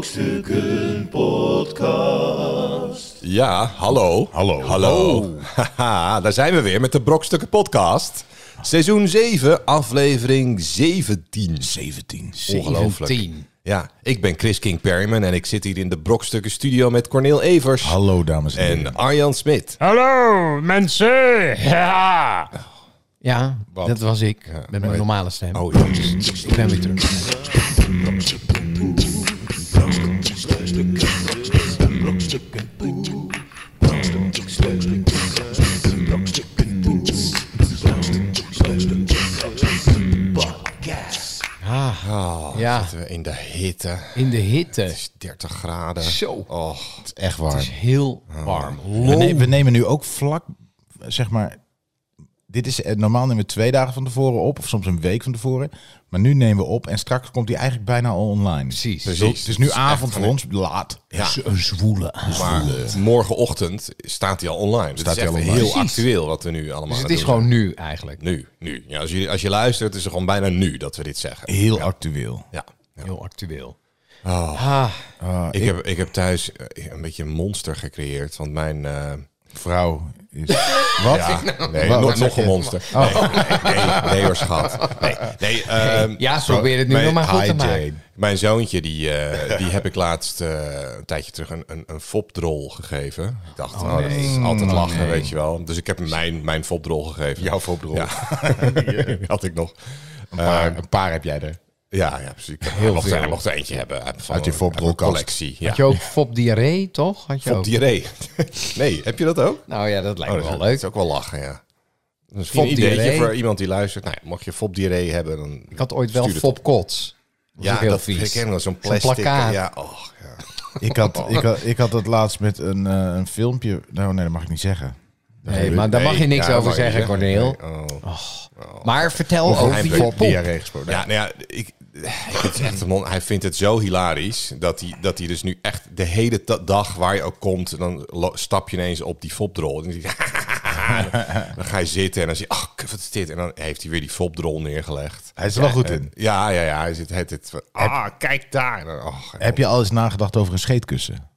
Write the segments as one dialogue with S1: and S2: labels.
S1: Brokstukken Podcast.
S2: Ja, hallo.
S1: Hallo.
S2: Hallo. Haha, daar zijn we weer met de Brokstukken Podcast. Seizoen 7, aflevering 17.
S1: 17.
S2: Ongelooflijk.
S3: 17.
S2: Ja, ik ben Chris King Perryman en ik zit hier in de Brokstukken Studio met Corneel Evers
S1: Hallo dames en heren.
S2: en Arjan Smit.
S3: Hallo mensen! Ja, dat was ik. met mijn normale stem.
S2: Oh, dat is
S3: Ik ben weer terug. Ah, ja,
S2: zitten we in de hitte. Het
S3: in de hitte.
S2: is 30 graden.
S3: Zo.
S2: Oh,
S1: Het is echt
S3: Het is
S1: waar.
S3: heel warm.
S1: We, ne- we nemen nu ook vlak, zeg maar... Dit is eh, normaal nemen we twee dagen van tevoren op, of soms een week van tevoren. Maar nu nemen we op en straks komt die eigenlijk bijna al online.
S3: Precies.
S1: Dus Het is nu
S2: Het is echt
S1: avond voor
S2: van-
S1: ons, laat.
S2: Ja.
S1: Z- Een zwoele
S2: maar morgenochtend staat hij al online. Staat
S1: Staat
S2: het
S1: hij
S2: is echt
S1: al online.
S2: heel
S3: Precies.
S2: actueel wat we nu allemaal
S3: Dus
S2: aan
S3: het is
S2: doen
S3: gewoon nu eigenlijk.
S2: zijn. Nu, nu. Ja, als, je, als je luistert is het gewoon bijna nu dat we dit zeggen.
S1: Heel actueel.
S2: Ja. ja.
S3: Heel actueel.
S2: Ik, heb, ik heb thuis eh, een beetje een monster gecreëerd. Want mijn. eh,
S1: Vrouw is... Wat? Eh,
S2: nee,
S1: Wat
S2: nog,
S1: zeg
S2: nog een monster. Nee, nee, nee, nee hoor, schat. Nee, nee, ehm,
S3: Ja, ze proberen het nu nog maar goed te
S1: Hi
S3: maken.
S1: Jane.
S2: Mijn zoontje, die, eh, die heb ik laatst eh, een tijdje terug een, een, een fopdrol gegeven. Ik dacht, oh, dat is altijd lachen, weet je wel. Dus ik heb hem mijn, mijn fopdrol gegeven. Jouw fopdrol. Ja. Die had ik nog.
S1: Een paar, een paar heb jij er.
S2: Ja, ja precies. Ik Heel mocht,
S1: veel.
S2: hij mocht er eentje hebben. Uit, van
S1: Uit je
S2: een-
S1: fopdrolkast.
S2: een collectie. Ja.
S3: Had je ook fop diarree, toch? Had je ook?
S2: Fopdiarree. nee, heb je dat ook?
S3: Nou ja, dat lijkt
S2: Oh,
S3: me
S2: dat
S3: wel
S2: is,
S3: leuk.
S2: is ook wel lachen, ja. Dus
S3: Fop
S2: een ideetje
S3: diarree.
S2: voor iemand die luistert. Nou, ja, mocht je fopdiarree hebben, dan...
S3: Ik had ooit wel
S2: Stuur het
S3: fop kots. Dat was
S2: ja,
S3: ook heel
S2: dat
S3: vies.
S2: vind ik helemaal zo'n plastic.
S3: plakkaat.
S2: ja, oh, ja.
S1: Ik had, ik, had, ik had dat laatst met een, eh, een filmpje... Nou, nee, dat mag ik niet zeggen.
S3: Nee, maar daar mag je
S2: Nee,
S3: niks
S2: ja,
S3: over
S2: mag je
S3: zeggen,
S2: niet zeggen.
S3: Corneel.
S2: Nee, oh.
S3: Maar vertel over je
S2: Fop
S3: pop.
S1: diarree gesproken.
S2: Ja, nou ja, ik, het is echt een mon- hij vindt het zo hilarisch dat hij, dat hij dus nu echt de hele ta- dag waar je ook komt, dan lo- stap je ineens op die fopdrol. En dan, dan ga je zitten en dan zie je, ach, wat is dit? En dan heeft hij weer die fopdrol neergelegd.
S1: Hij is er wel goed in.
S2: En- ja, ja, ja. Hij zit het, het, ah, kijk daar. En dan, ach,
S1: Heb je al eens nagedacht over een scheetkussen?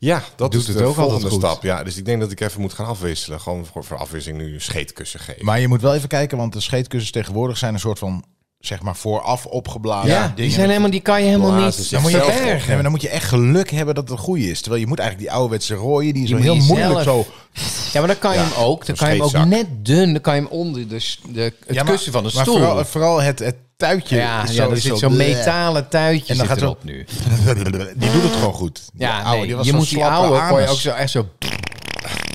S2: ja, dat
S3: Doet
S2: is
S3: het
S2: de
S3: ook altijd
S2: volgende
S3: goed.
S2: stap. Ja, dus ik denk dat ik even moet gaan afwisselen. Gewoon voor, voor afwisseling nu een scheetkussen geven.
S1: Maar je moet wel even kijken, want de scheetkussens tegenwoordig zijn een soort van, zeg maar, vooraf opgeblazen
S3: Ja, die,
S1: dingen.
S3: zijn helemaal, die kan je helemaal
S2: Blazen
S3: niet.
S2: zich
S1: dan moet, je
S2: zelf
S1: echt,
S2: op.
S1: nee, maar dan moet je echt geluk hebben dat het een goede is. Terwijl je moet eigenlijk die ouderwetse rooien, die is
S3: Die
S1: zo
S3: moet
S1: heel
S3: je
S1: moeilijk
S3: zelf-
S1: zo...
S3: Ja, maar dan kan je hem ook. Dan
S2: zo'n
S3: kan je hem ook
S2: scheetzak.
S3: net dun. Dan kan je hem onder de, s- de, het
S1: Ja, maar-
S3: kussen van de
S1: maar
S3: stoel.
S1: vooral, vooral het, het tuitje.
S3: ja,
S1: is
S3: ja,
S1: zo,
S3: er
S1: is
S3: zit
S1: zo-
S3: zo'n metalen tuitje
S1: En dan
S3: zit
S1: gaat zo-
S3: erop nu.
S1: Die doet het gewoon goed. Die
S3: Ja,
S1: oude,
S3: nee,
S1: die was
S3: je
S1: zo'n
S3: moet die
S1: slappe
S3: oude kon je
S1: anus.
S3: ook zo echt zo...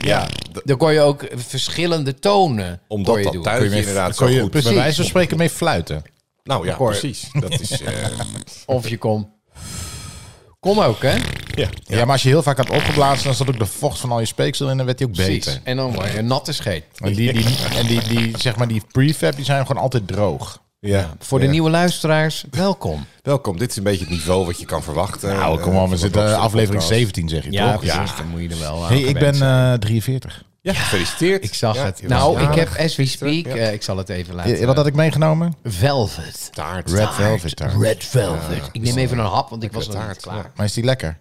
S2: ja, d-
S3: Dan kon je ook verschillende tonen kon
S2: omdat
S3: je
S2: dat
S3: doen.
S2: tuintje inderdaad zo
S1: Kon je
S2: goed...
S1: bij
S3: Precies.
S1: wijze van spreken mee fluiten.
S2: Nou ja,
S3: Hoor.
S2: precies. Dat is... eh,
S3: Of je kon... Kom ook, hè?
S2: ja.
S1: Ja. maar als je heel vaak had opgeblazen, dan zat ook de vocht van al je speeksel in en werd die ook
S3: Precies.
S1: beter.
S3: En dan word je een natte scheet.
S1: En die, die, en die, die, zeg maar, die prefab, die zijn gewoon altijd droog.
S2: Ja.
S3: Voor de nieuwe luisteraars, welkom.
S2: Welkom, dit is een beetje het niveau wat je kan verwachten.
S1: Nou,
S2: Eh,
S1: kom op,
S2: van
S1: we
S2: de
S1: zitten
S2: Brokstukken
S1: aflevering
S2: podcast.
S1: 17, zeg je
S3: Ja,
S1: toch?
S3: precies. Dan moet je er wel aan
S1: Hey, ik
S3: gewend
S1: ben
S3: zijn.
S1: eh 43.
S2: Ja, gefeliciteerd.
S3: Ik zag
S2: Ja,
S3: het.
S2: je
S3: Nou,
S2: was
S3: ik heb
S2: jarig.
S3: as we speak, eh, ik zal het even laten.
S1: Je- Wat had ik meegenomen?
S3: Velvet.
S2: Taart.
S1: Red Velvet taart.
S3: Red Velvet. ik neem even een hap, want ik was nog
S2: taart,
S3: niet klaar.
S1: Maar is die lekker?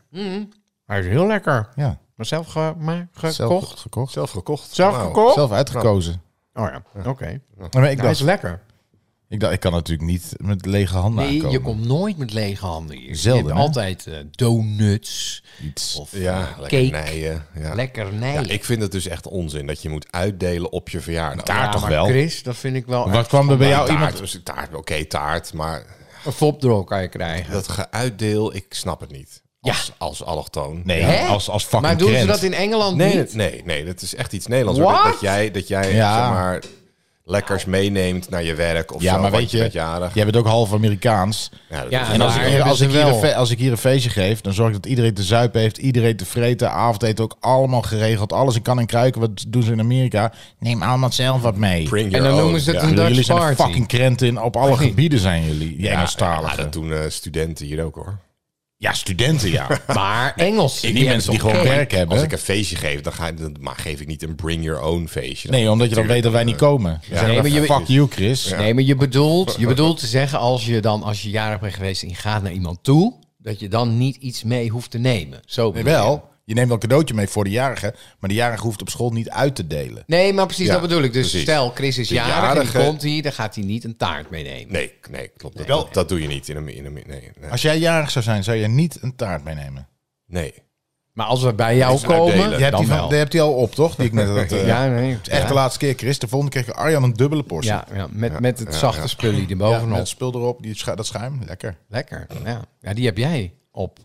S3: Hij is heel lekker.
S1: Ja.
S3: Maar zelf gekocht.
S1: Zelf gekocht.
S2: Zelf gekocht.
S3: Zelf
S2: Nou,
S3: gekocht?
S1: Zelf uitgekozen.
S3: Oh ja, oké.
S1: Maar ik,
S3: Hij is
S1: dacht,
S3: lekker.
S1: ik dacht, ik kan natuurlijk niet met lege handen
S3: Nee,
S1: aankomen.
S3: je komt nooit met lege handen hier.
S1: Zelden,
S3: je hebt
S1: hè?
S3: altijd eh, donuts
S1: Iets.
S3: of
S2: Ja, lekker
S3: cake.
S2: nijen. Ja.
S3: lekker nee.
S2: Ja, ik vind het dus echt onzin dat je moet uitdelen op je verjaardag.
S1: Taart toch
S3: maar
S1: wel?
S3: Chris, dat vind ik wel...
S1: Wat kwam er bij jou
S2: taart,
S1: iemand?
S2: dus taart oké, taart, maar
S3: Een fopdrol kan je krijgen.
S2: dat geuitdeel, ik snap het niet.
S3: Ja.
S2: Als, als allochtoon.
S1: Nee,
S3: Hè?
S1: als, als fucking
S3: maar doen ze
S1: krent.
S3: dat in Engeland
S2: Nee,
S3: niet?
S2: dat- nee, nee, dat is echt iets Nederlands. hoor. Dat,
S3: What?
S2: dat jij, dat jij
S1: Ja.
S2: zeg maar, lekkers meeneemt naar je werk of
S1: Ja,
S2: zo,
S1: maar
S2: want
S1: weet je,
S2: bent jarig.
S1: jij bent ook half Amerikaans.
S2: Ja, dat
S3: Ja,
S2: is-
S3: en
S1: En als
S3: Maar
S1: ik,
S3: hebben
S1: als,
S3: ze
S1: ik hier
S3: wel.
S1: een fe- als ik hier een feestje geef, dan zorg ik dat iedereen te zuipen heeft, iedereen te vreten, avondeten ook allemaal geregeld. Alles in kan en kruiken, wat doen ze in Amerika? Neem allemaal zelf wat mee.
S2: bring
S3: En
S2: your
S3: dan
S2: own,
S3: noemen ze het
S2: ja.
S3: een
S1: Jullie
S3: Dutch
S1: zijn de
S3: party.
S1: fucking krenten in, op alle gebieden zijn jullie, die
S2: Ja,
S1: Engelstaligen.
S2: dat doen eh, studenten hier ook hoor.
S1: Ja, studenten ja.
S3: Maar Engels.
S1: Die, mensen die gewoon werk hebben.
S2: Als ik een feestje geef, dan, ga, dan maar geef ik niet een bring your own feestje. Dan-
S1: Nee, omdat je dan weet dat wij niet komen. Dan zeggen
S3: Nee,
S1: we,
S3: maar je-
S1: fuck you, Chris.
S3: Nee, maar je bedoelt, je bedoelt te zeggen als je dan, als je jarig bent geweest en je gaat naar iemand toe, dat je dan niet iets mee hoeft te nemen. Zo
S1: Nee,
S3: bedoel
S1: wel.
S3: je.
S1: Je neemt wel een cadeautje mee voor de jarige, maar de jarige hoeft op school niet uit te delen.
S3: Nee, maar precies
S2: Ja,
S3: dat bedoel ik. Dus
S2: precies.
S3: stel, Chris is
S2: De
S3: jarig en die
S2: jarige-
S3: komt hier, dan gaat hij niet een taart meenemen.
S2: Nee, nee, klopt. Dat,
S1: Wel-
S2: dat, dat doe je niet in een... In een nee, nee.
S1: Als jij jarig zou zijn, zou je niet een taart meenemen.
S2: nee.
S3: Maar als we bij jou
S2: Even uitdelen.
S3: komen,
S2: Je
S1: Je hebt
S3: dan
S1: die, van,
S3: wel.
S1: die hebt die al op, toch? Die ik net had, eh,
S3: ja, nee.
S1: Het is echt de laatste keer, Chris. De volgende keer kreeg Arjan een dubbele portie.
S3: ja, ja, met, met het zachte spulje
S1: Ja,
S3: erbovenop.
S1: met het spul erop, die schu- dat schuim. Lekker.
S3: Lekker. Ja. ja, die heb jij op.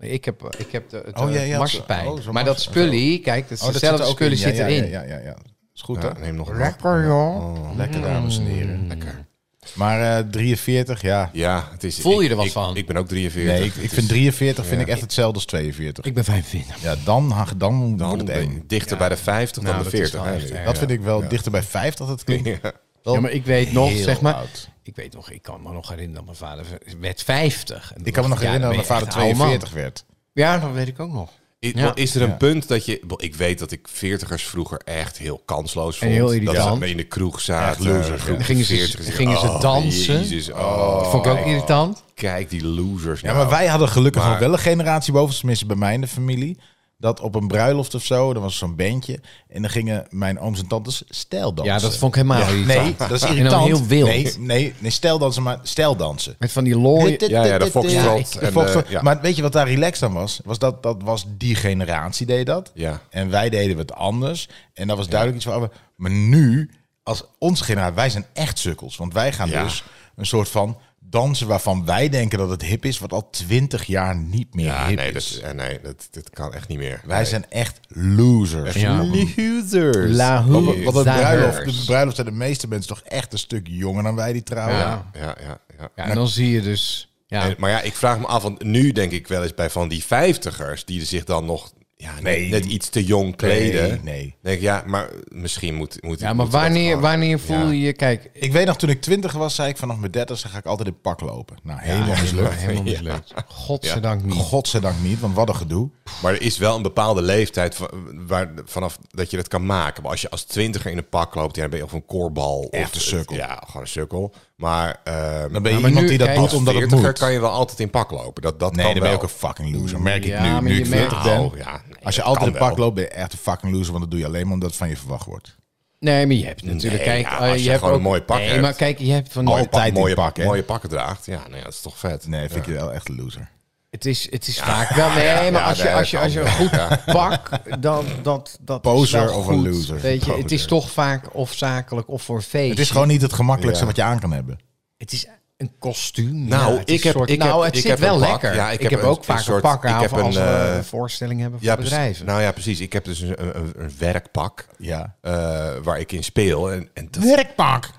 S3: Ik heb, ik heb de, het
S1: Oh,
S3: eh,
S1: jij had-
S3: marsepein.
S1: oh, zo'n
S3: maar dat
S1: mars-
S3: spullie, kijk, dat is
S1: dat zit
S3: hetzelfde
S1: er ook
S3: spullie
S1: in. Ja,
S3: zit
S1: ja,
S3: erin.
S1: Ja, ja, ja, Is goed,
S2: Ja,
S1: hè?
S2: neem nog een
S1: Lekker, joh. Oh, Lekker, dames en heren.
S2: lekker.
S1: Maar eh, 43, ja.
S2: Ja, het is...
S3: Voel je
S2: ik-
S3: er wat
S2: ik-
S3: van?
S2: Ik ben ook 43.
S1: Nee, ik,
S2: Het
S1: ik
S2: is-
S1: vind 43 vind ik echt hetzelfde als 42.
S3: Ik ben 45.
S1: Ja, dan, ha- dan,
S2: Dan
S1: wordt het
S2: ben je
S1: één.
S2: dichter bij de 50
S3: Nou,
S2: dan de
S3: dat is
S2: 40.
S3: wel
S2: hè,
S3: echt
S2: nu.
S3: erg.
S1: Dat vind ik wel dichter bij 50 dat het klinkt. Wel
S3: Ja, maar ik weet nog,
S1: heel
S3: zeg maar,
S1: oud.
S3: ik weet nog, ik kan me nog herinneren dat mijn vader werd 50. En
S1: Ik kan me nog
S3: dacht ja,
S1: herinneren dat mijn vader
S3: dan ben je echt een oude man.
S1: 42 werd.
S3: Ja, dat weet ik ook nog.
S2: I-
S3: Ja.
S2: Is er een punt dat je... Ik weet dat ik veertigers vroeger echt heel kansloos vond.
S3: En heel
S2: Dat
S3: irritant.
S2: ze in de kroeg zaten.
S1: Echt loser.
S2: een groep
S3: Dan gingen ze-
S2: 40ers.
S3: gingen ze
S2: Oh,
S3: dansen.
S2: Jezus, oh,
S3: Vond ik ook irritant.
S2: kijk die losers
S1: Ja,
S2: nou.
S1: maar wij hadden gelukkig
S2: Maar-
S1: nog wel een generatie boven, tenminste bij mij in de familie. Dat op een bruiloft of zo, er was zo'n bandje. En dan gingen mijn ooms en tantes stijldansen.
S3: Ja, dat vond ik helemaal irritant.
S1: Nee, dat is
S3: En dan
S1: irritant.
S3: heel wild.
S1: Nee, nee, nee stijldansen, maar stijldansen.
S3: Met van die looien.
S2: ja, ja, de
S3: Ja,
S2: foxtrot.
S3: ik-
S1: De
S2: en,
S1: Foxtrot.
S2: eh, ja.
S1: Maar weet je wat daar relaxed aan was? was dat, dat was die generatie deed dat.
S2: Ja.
S1: En wij deden het anders. En dat was duidelijk iets van... oh, Maar nu, als onze generatie, wij zijn echt sukkels. Want wij gaan
S2: Ja.
S1: dus een soort van dansen waarvan wij denken dat het hip is... wat al twintig jaar niet meer
S2: Ja,
S1: hip
S2: nee, dat,
S1: is.
S2: eh, nee dat, dat kan echt niet meer.
S1: Wij
S2: Nee.
S1: zijn echt losers.
S3: Ja.
S2: losers.
S3: La
S1: Wat,
S3: hoe-
S1: wat een bruiloft,
S3: zangers.
S1: de bruiloft zijn de meeste mensen toch echt een stuk jonger dan wij die trouwen.
S3: Ja.
S2: Ja, ja, ja.
S3: Ja, en dan zie je dus... Ja,
S2: En- maar ja, ik vraag me af, want nu denk ik wel eens bij van die vijftigers... die zich dan nog ja, net-
S1: Nee.
S2: net, iets te jong kleden.
S1: Nee, nee.
S2: Denk ik, ja, maar misschien moet... moet
S3: ja maar
S2: moet dat
S3: wanneer,
S2: gewoon-
S3: wanneer voel
S2: Ja.
S3: je je... Kijk,
S1: Ik weet nog, toen ik twintig was, zei ik vanaf mijn dertigste ga ik altijd in pak lopen. Nou, helemaal
S3: ja,
S1: mislukt.
S3: Ah, Helemaal mislukt. Godzijdank niet.
S1: Godzijdank niet, want wat een gedoe.
S2: Maar er is wel een bepaalde leeftijd van- waar, vanaf dat je dat kan maken. Maar als je als twintiger in een pak loopt, ja, dan ben je of een korbal.
S1: Echt
S2: of,
S1: een sukkel.
S2: Ja, gewoon een sukkel. Maar ehm
S1: Dan ben je
S3: maar
S1: Nou, iemand
S3: nu-
S1: die dat
S3: kijk,
S1: doet omdat het
S2: veertiger
S1: moet.
S2: kan je wel altijd in pak lopen. Dat, dat
S1: Nee, dan ben
S2: kan
S1: je
S2: wel.
S1: ook een fucking loser, merk ik
S3: Ja,
S1: nu.
S3: maar
S1: Nu
S3: je
S1: ik
S3: merkt-
S1: 40
S2: Nou,
S1: ben.
S2: ja, nee,
S1: Als je
S2: dat
S1: altijd
S2: kan
S1: in pak
S2: wel.
S1: loopt, ben je echt een fucking loser. Want dat doe je alleen maar omdat het van je verwacht wordt.
S3: Nee, maar je hebt natuurlijk...
S2: Nee,
S3: kijk,
S2: ja,
S3: eh,
S2: als je
S3: hebt
S2: gewoon
S3: ook,
S2: een mooi pak
S3: Nee,
S2: hebt.
S3: maar kijk, je hebt van... die-
S2: Mooie
S1: Altijd in
S2: mooie,
S1: pak, hè?
S2: mooie pakken draagt. Ja, nee, dat is toch vet.
S1: Nee, vind ik je wel echt een loser.
S3: Het is, het is vaak wel... Nee, maar
S2: ja,
S3: als, je,
S2: nee,
S3: als, je,
S2: dat
S3: als je een
S2: kan.
S3: goed pak... Dan, dat, dat is
S1: Poser
S3: wel
S1: of een
S3: goed.
S1: loser.
S3: Weet je, het
S1: Poser.
S3: is toch vaak of zakelijk of voor feest.
S1: Het is gewoon niet het gemakkelijkste
S2: Ja.
S1: wat je aan kan hebben.
S3: Het is een kostuum.
S2: Nou,
S3: Ja, het is
S2: ik heb-
S3: een soort-
S2: ik heb-
S3: nou, het
S2: ik
S3: zit
S2: heb
S3: wel
S2: een pak.
S3: lekker.
S2: Ja, ik
S3: ik,
S2: heb
S3: heb
S2: een-
S3: ook
S2: een
S3: vaak een
S2: soort-
S3: pak
S2: ik
S3: aan
S2: heb
S3: voor
S2: een,
S3: als we
S2: eh,
S3: een voorstelling hebben voor
S2: precies.
S3: bedrijven.
S2: Nou ja, precies. Ik heb dus een, een, een werkpak
S1: Ja.
S2: eh, waar ik in speel. En, en dat,
S1: Werkpak!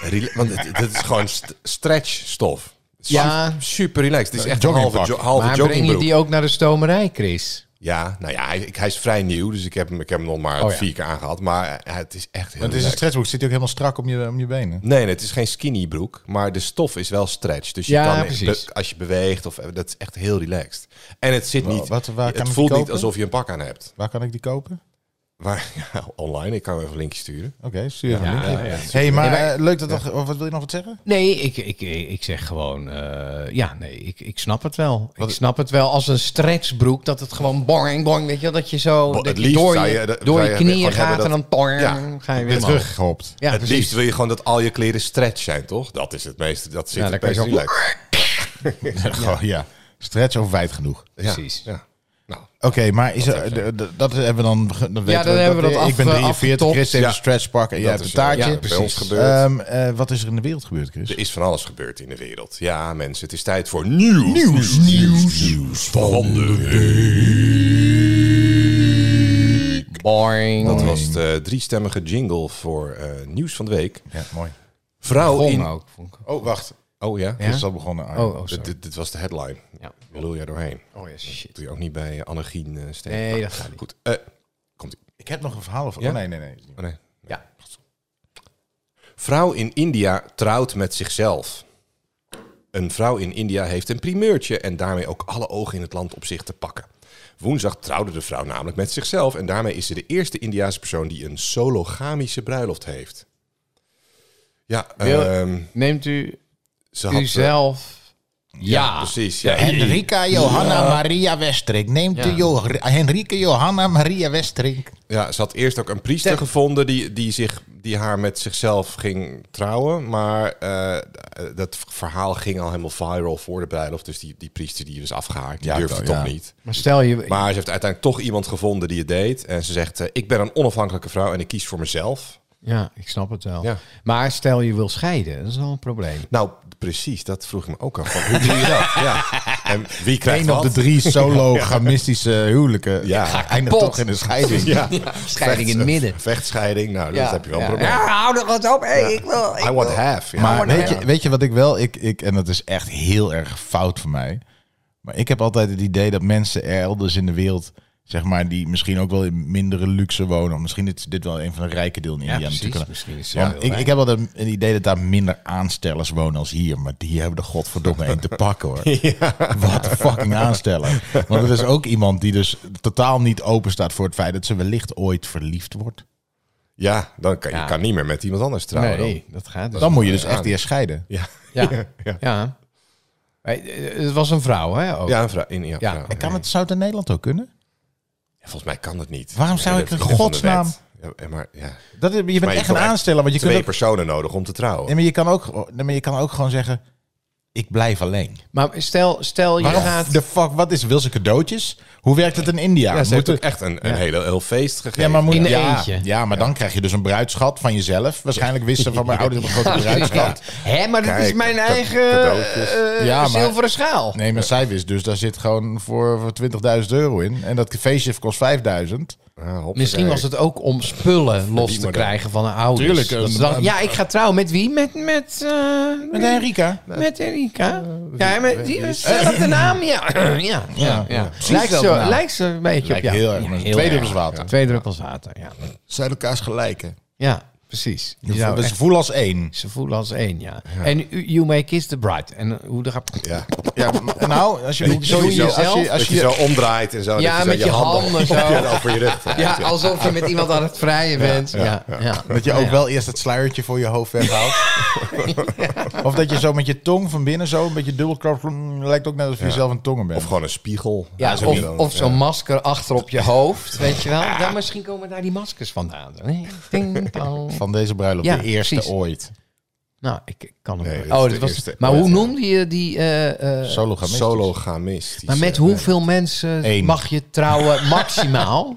S2: rela- want het, het is gewoon st- stretchstof.
S3: Ja.
S2: Su- Super relaxed. Het is echt een halve,
S1: Joggingpak.
S2: jo halve
S3: maar breng je
S2: joggingbroek.
S3: die ook naar de stomerij, Chris?
S2: Ja, nou ja, hij, ik- hij is vrij nieuw, dus ik heb hem, ik heb hem nog maar
S3: Oh ja.
S2: vier keer aangehad. Maar eh, het is echt heel
S1: Het is een
S2: leuk.
S1: stretchboek, zit hij ook helemaal strak om je, om je benen.
S2: Nee, nee, het is geen skinny broek, maar de stof is wel stretch. Dus je
S3: Ja,
S2: kan
S3: precies.
S2: be- als je beweegt, of, eh, dat is echt heel relaxed. En het zit
S1: Wa-
S2: niet,
S1: wat- waar kan
S2: het
S1: ik
S2: voelt niet
S1: kopen?
S2: alsof je een pak aan hebt.
S1: Waar kan ik die kopen?
S2: Waar, ja, online, ik kan hem even een linkje sturen.
S1: Oké, stuur even
S3: Ja,
S1: een
S3: ja,
S1: linkje.
S3: ja.
S1: hey, maar eh, leuk dat... dat- of Wat wil je nog wat zeggen?
S3: Nee, ik, ik, ik zeg gewoon... eh, ja, nee, ik, ik snap het wel. Ik snap het wel als een stretchbroek. Dat het gewoon boing, boing. Weet je, wel, dat je zo
S2: Bo-
S3: dat
S2: het
S3: je
S2: liefst
S3: door
S2: zou
S3: je,
S2: je- dat-
S3: door
S2: zou
S3: je
S2: je
S3: knieën
S2: gewoon
S3: gaat
S2: hebben
S3: en dan boing,
S2: Ja,
S3: ga je weer
S1: Weer
S3: omhoog.
S1: teruggehopt.
S3: Ja,
S2: het
S3: precies.
S2: liefst wil je gewoon dat al je kleren stretch zijn, toch? Dat is het meeste, dat zit
S3: Ja,
S2: het
S3: dan kan
S2: meest
S3: je zo-
S2: relaxed.
S1: Ja. ja. Stretch of wijd genoeg.
S2: Ja,
S3: Precies.
S2: Ja. Nou,
S1: Oké, maar is er, d- d- dat hebben we dan, ge- dan weten
S3: dan hebben we dat
S1: Ik ben
S3: af-
S1: 43,
S3: afgetopt.
S1: Chris heeft
S2: Ja.
S1: een stretchpak en jij hebt
S2: dat
S1: een
S2: is, eh,
S1: taartje.
S2: ja, bij ons
S3: Precies.
S2: gebeurd.
S1: Ehm, eh, wat is er in de wereld gebeurd, Chris?
S2: Er is van alles gebeurd in de wereld. Ja, mensen, het is tijd voor nieuws.
S1: Nieuws, nieuws, nieuws
S2: van de
S3: Boing.
S2: Dat was de eh, driestemmige jingle voor eh, nieuws van de week.
S1: Ja, mooi.
S2: Vrouw
S3: Gong
S2: in...
S3: ook. vond ik.
S1: Oh, wacht.
S2: Oh ja?
S1: Chris is al begonnen. Arjen.
S3: Oh, oh,
S2: Dit-
S3: sorry.
S2: Dit, dit was de headline.
S3: Ja.
S2: Lul jij doorheen.
S3: Oh ja, shit.
S2: Doe je ook niet bij eh, Annegien eh steken.
S3: Nee,
S2: Maar
S3: dat gaat niet.
S2: Goed. eh, komt ie.
S1: Ik heb nog een verhaal over.
S2: Ja?
S1: Oh, nee, nee, nee.
S2: Oh, nee.
S3: Ja.
S2: Vrouw in India trouwt met zichzelf. Een vrouw in India heeft een primeurtje en daarmee ook alle ogen in het land op zich te pakken. Woensdag trouwde de vrouw namelijk met zichzelf en daarmee is ze de eerste Indiaanse persoon die een sologamische bruiloft heeft. Ja,
S3: Wil-
S2: ehm,
S3: Neemt u
S2: ze had... eh,
S3: uzelf Ja,
S2: precies, ja.
S1: Henrika Johanna Maria Westerink. Neemt
S3: Ja.
S1: de jo Henrike Johanna Maria Westerink.
S2: Ja, ze had eerst ook een priester
S3: Ter-
S2: gevonden die, die, zich, die haar met zichzelf ging trouwen. Maar eh, dat verhaal ging al helemaal viral voor de bruiloft. Dus die, die priester die is afgehaakt, die
S1: Ja,
S2: durfde
S1: toch,
S2: toch
S1: ja.
S2: niet.
S3: Maar stel je...
S2: Maar ze heeft uiteindelijk toch iemand gevonden die het deed. En ze zegt, eh, ik ben een onafhankelijke vrouw en ik kies voor mezelf.
S3: Ja, ik snap het wel.
S2: Ja.
S3: Maar stel je wil scheiden, dat is wel een probleem.
S2: Nou, precies, dat vroeg ik me ook af. Van, Hoe doe je dat? Ja. En wie krijgt
S1: Eén op
S2: wat?
S1: de drie solo-gamistische huwelijken
S2: Ja. Ik ga
S1: eindigt
S3: kapot.
S1: toch in een scheiding.
S2: Ja.
S3: scheiding in het
S2: Vechts-
S3: midden.
S2: Vechtscheiding, nou, dat heb je wel een
S3: ja.
S2: probleem.
S3: Ja, hou er wat op. Hey, ik wil... Ik
S2: I want
S3: wil-
S2: half. Ja.
S1: Maar
S3: nou
S1: weet
S2: ja.
S1: je, weet je wat ik wel, ik, ik, en dat is echt heel erg fout van mij. Maar ik heb altijd het idee dat mensen er elders in de wereld, zeg maar, die misschien ook wel in mindere luxe wonen. Of misschien is dit wel een van de rijke delen in
S3: Ja,
S1: India
S3: precies.
S1: natuurlijk.
S3: Misschien is het
S1: Want
S3: wel heel
S1: ik, ik
S3: rijk.
S1: heb altijd een idee dat daar minder aanstellers wonen als hier. Maar die hebben de godverdomme een te pakken hoor. Wat een fucking aansteller. Want er is ook iemand die dus totaal niet open staat voor het feit dat ze wellicht ooit verliefd wordt.
S2: Ja, dan kan je
S3: Ja.
S2: kan niet meer met iemand anders trouwen.
S3: Nee, dat gaat dus
S1: Dan
S3: niet.
S1: moet je dus echt eerst scheiden.
S2: Ja.
S3: Ja.
S2: Ja.
S3: ja. Maar, eh, Het was een vrouw, hè? Ook.
S2: Ja, een vrouw. In, ja,
S3: Ja.
S2: vrouw.
S1: En kan het, zou het in Nederland ook kunnen?
S2: Ja, volgens mij kan dat niet.
S1: Waarom zou
S2: dat
S1: ik
S2: is
S1: in
S2: toch van de
S1: godsnaam-
S2: wet? Ja, maar, ja.
S1: Dat, je bent
S2: Maar je
S1: echt
S2: kan
S1: een
S2: echt
S1: aansteller. Want je,
S2: Twee
S1: kunt ook,
S2: personen nodig om te trouwen.
S1: nee, maar je, kan ook, nee, maar je kan ook gewoon zeggen... Ik blijf alleen.
S3: Maar stel, stel je
S1: Waarom
S3: gaat...
S1: de fuck? Wat is? Wil ze cadeautjes? Hoe werkt het in India?
S2: Ja, ze heeft
S1: Moeten-
S2: ook echt een, een hele, heel feest gegeven.
S1: ja, maar moet,
S3: In een
S1: ja,
S3: eentje.
S1: ja, maar dan krijg je dus een bruidschat van jezelf. Waarschijnlijk wisten van mijn ouders een grote
S3: Ja.
S1: bruidschat.
S3: Hè, maar dat
S2: Kijk,
S3: is mijn
S2: ka-
S3: eigen
S2: cadeautjes.
S3: eh,
S1: Ja, maar-
S3: zilveren schaal.
S1: Nee, maar zij wist dus, daar zit gewoon voor, voor 20.000 euro in. En dat feestje kost 5000.
S2: Ja, hoppakee.
S3: Misschien was het ook om spullen los te
S2: model.
S3: krijgen van een ouders.
S1: Tuurlijk,
S3: Dat ze
S1: een-
S3: dachten,
S1: een-
S3: ja, ik ga trouwen. Met wie? Met, met, eh,
S1: Met Eh, Henrika.
S3: Met Erika? Ja, met die dezelfde naam? Ja, ja, ja. ja, Lijkt,
S1: Dezelfde
S3: zo,
S1: naam.
S3: lijkt zo een beetje
S1: Lijkt
S3: op jou.
S1: heel erg,
S3: Ja,
S1: maar twee druppels
S3: erg.
S1: water.
S3: Twee druppels water, ja.
S1: Zijn elkaars gelijken.
S3: Ja, precies. Die zou
S1: Dus ze
S3: echt-
S1: voelen als één.
S3: ze voelen als één, ja. En you- You May Kiss the Bride. En uh, hoe de grap...
S2: Ja.
S1: Ja, nou, als je,
S3: Doe-
S1: zo,
S3: doe
S1: als je, als je,
S3: jezelf,
S2: dat je, zo omdraait en zo.
S3: Ja,
S2: dat je
S3: met
S2: zo
S3: je handen zo.
S2: op je- over je rug. draait,
S3: Ja,
S2: Ja,
S3: alsof je met iemand aan het vrijen bent. Ja, ja,
S1: Dat je ook wel eerst het sluiertje voor je hoofd weghaalt. Of dat je zo met je tong van binnen zo een beetje dubbelkracht... Lijkt ook net alsof je zelf een tongen bent.
S2: Of gewoon een spiegel.
S3: Ja,
S2: Dat is ook niet
S3: of,
S2: dan-
S3: of zo'n
S2: ja.
S3: masker achter op je hoofd, weet je wel. Dan misschien komen daar die maskers vandaan. Nee, ding, dong.
S1: van deze bruiloft,
S3: Ja,
S1: de eerste
S3: precies.
S1: ooit.
S3: Nou, ik ik kan hem.
S2: Nee, dat is
S3: oh,
S2: de
S3: dat was.
S2: eerste.
S3: Maar
S2: Ja,
S3: hoe
S2: ja.
S3: noemde je die? eh, eh,
S1: Sologamist.
S2: Sologamist.
S3: maar met hoeveel mensen
S1: Eén.
S3: mag je trouwen maximaal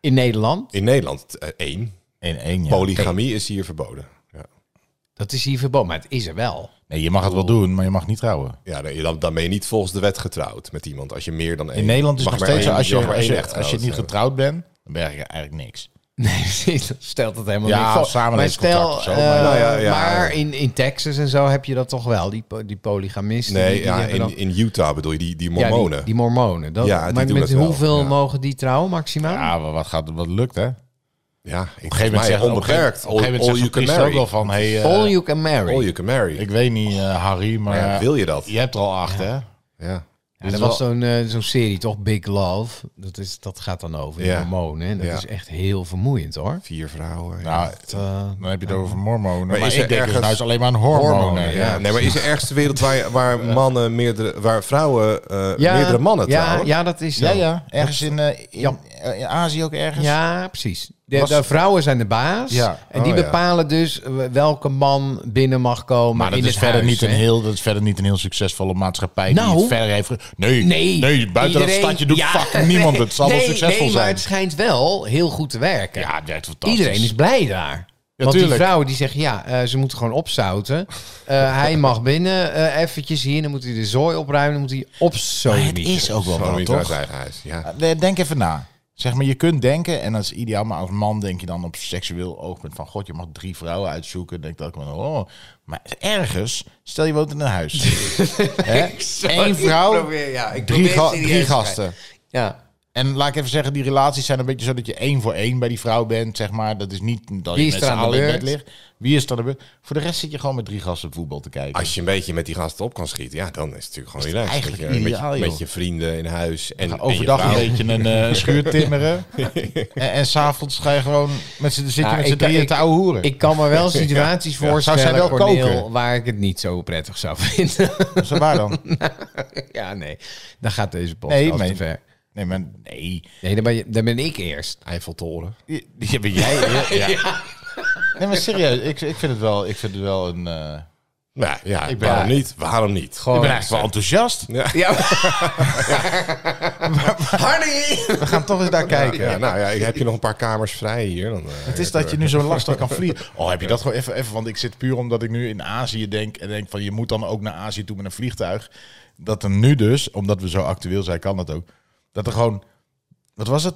S3: in Nederland?
S2: In Nederland eh, één.
S1: In één, ja.
S2: Polygamie is hier verboden. Ja,
S3: Dat is hier verboden, maar het is er wel.
S1: Nee, je mag het wel doen, maar je mag niet trouwen.
S2: ja dan, dan- dan ben je niet volgens de wet getrouwd met iemand. Als je meer dan één...
S1: In Nederland is het
S2: mag
S1: nog
S2: maar
S1: steeds zo,
S2: één-
S1: als je,
S2: mag maar
S1: als
S2: één
S1: je,
S2: echtgenoot
S1: als je niet
S2: hebben.
S1: getrouwd bent, dan ben je eigenlijk niks.
S3: Nee, precies, dat stelt het helemaal
S1: Ja,
S3: niet voor.
S1: samenlevingscontract
S3: maar stel,
S1: of zo,
S3: eh,
S1: maar
S2: ja. Nou ja, ja.
S3: maar in, in Texas en zo heb je dat toch wel, die, po- die polygamisten. die-
S2: Nee,
S3: die
S2: ja,
S3: hebben dan-
S2: in, in Utah bedoel je, die, die
S3: Ja, die-
S2: mormonen.
S3: die, mormonen. Dat,
S2: Ja, die
S3: maar
S2: doen
S3: met
S2: dat wel,
S3: hoeveel
S2: ja.
S3: mogen die trouwen maximaal?
S1: Ja, maar wat, gaat, wat lukt, hè? Op een
S2: Ja, ik op een
S1: gegeven moment zegt
S2: onbeperkt.
S1: Op een gegeven
S2: all,
S1: moment
S2: all you
S1: zegt
S2: can
S1: Christus ook
S2: marry.
S1: wel van... Hey, eh,
S3: All you can marry.
S2: All you can marry.
S1: ik weet niet, eh, Harry, maar
S2: Maar ja, wil je dat?
S1: je hebt er al acht, hè?
S2: Ja.
S3: Ja,
S1: Dus
S3: er
S1: wel-
S3: was zo'n eh, zo'n serie, toch? Big Love. Dat, is, dat gaat dan over
S2: Ja.
S3: ja. hormonen. En dat
S2: Ja.
S3: is echt heel vermoeiend, hoor.
S2: Vier vrouwen. ja.
S1: Nou,
S3: Eh,
S1: dan heb je het over mormonen. Maar,
S2: Maar is
S1: ik
S2: er
S1: denk dus
S2: ergens-
S1: nou is alleen maar aan hormonen.
S3: Hormonen,
S2: ja. Nee, maar is er ergens ter wereld waar, waar mannen meerdere, waar vrouwen eh, meerdere mannen
S3: ja,
S2: trouwen?
S3: ja, dat is zo.
S1: Ja, ja. Ergens in, eh, in,
S3: Ja.
S1: eh, in Azië ook ergens.
S3: Ja, precies. De,
S1: Was-
S3: de vrouwen zijn de baas.
S1: Ja.
S3: En die
S2: Oh, ja.
S3: bepalen dus welke man binnen mag komen.
S1: Maar dat
S3: in
S1: is,
S3: het
S1: verder
S3: huis,
S1: niet een
S3: hè.
S1: heel, dat is verder niet een heel succesvolle maatschappij
S3: Nou.
S1: die het verder heeft... ge- Nee, nee,
S3: Nee,
S1: nee buiten
S3: iedereen-
S1: dat stadje doet
S3: Ja,
S1: fucking niemand het. Het zal
S3: nee,
S1: wel succesvol
S3: nee, maar
S1: zijn.
S3: het schijnt wel heel goed te werken.
S1: Ja, het werkt fantastisch.
S3: Iedereen is blij daar. Want die
S1: tuurlijk.
S3: vrouwen die zeggen, ja, eh, ze moeten gewoon opzouten. Eh, hij mag binnen eh, eventjes hier. Dan moet hij de zooi opruimen. Dan moet hij
S1: Maar
S3: opzouten.
S1: het is ook wel
S2: Gewoon
S1: wat,
S2: niet uit
S1: toch?
S2: eigen huis. Ja.
S1: Nee, Denk even na. Zeg maar, je kunt denken, en dat is ideaal, maar als man denk je dan op seksueel oogpunt van... God, je mag drie vrouwen uitzoeken. Denk dat ik van, oh. Maar ergens, stel je woont in een huis. Hè? Eén vrouw,
S3: ja,
S1: drie, ga- drie gasten.
S3: Ja.
S1: En laat ik even zeggen, die relaties zijn een beetje zo dat je één voor één bij die vrouw bent, zeg maar. Dat is niet dat
S3: Wie
S1: je
S3: is
S1: met
S3: er
S1: z'n
S3: aan de
S1: allen in
S3: beurt?
S1: bed ligt. Wie is er aan de beurt? Voor de rest zit je gewoon met drie gasten voetbal te kijken.
S2: Als je een beetje met die gasten op kan schieten, ja, dan is het natuurlijk gewoon relaxed.
S1: eigenlijk
S2: Met je- met,
S1: ideaal,
S2: je,
S1: joh.
S2: met je vrienden in huis en,
S1: Ga
S2: en
S1: overdag een
S2: je vrouw.
S1: beetje een eh, schuur timmeren. en en s'avonds ga je gewoon met z'n zitten met
S3: Ja,
S1: z'n
S3: Nou, ik kan-
S1: drieën
S3: ik-
S1: te ouwe hoeren.
S3: Ik kan me wel situaties
S1: Zou
S3: voorstellen,
S1: zij wel
S3: Cornel,
S1: koken?
S3: waar ik het niet zo prettig zou vinden.
S1: Zo waar dan?
S3: ja, nee. Dan gaat deze podcast
S1: Nee, maar-
S3: te ver.
S1: Nee, maar nee.
S3: Nee, dan ben, je, dan ben ik eerst.
S2: Eiffeltoren.
S1: Je, je bent jij. ja. Nee, maar serieus. Ik, ik, vind het wel, ik vind het wel een... eh,
S2: Nou ja,
S1: Ik ben-
S2: waarom niet? Waarom niet?
S1: ik
S3: Gewoon...
S1: ben eigenlijk wel enthousiast.
S3: Ja. Hardy!
S1: We gaan toch eens daar kijken.
S2: Ja, nou ja, ik heb je nog een paar kamers vrij hier. Dan, eh,
S1: Het is dat je nu zo lastig kan vliegen. Oh, heb je dat gewoon even, even? Want ik zit puur omdat ik nu in Azië denk. En denk van je moet dan ook naar Azië toe met een vliegtuig. Dat er nu dus, omdat we zo actueel zijn, kan dat ook. Dat er gewoon, wat was het?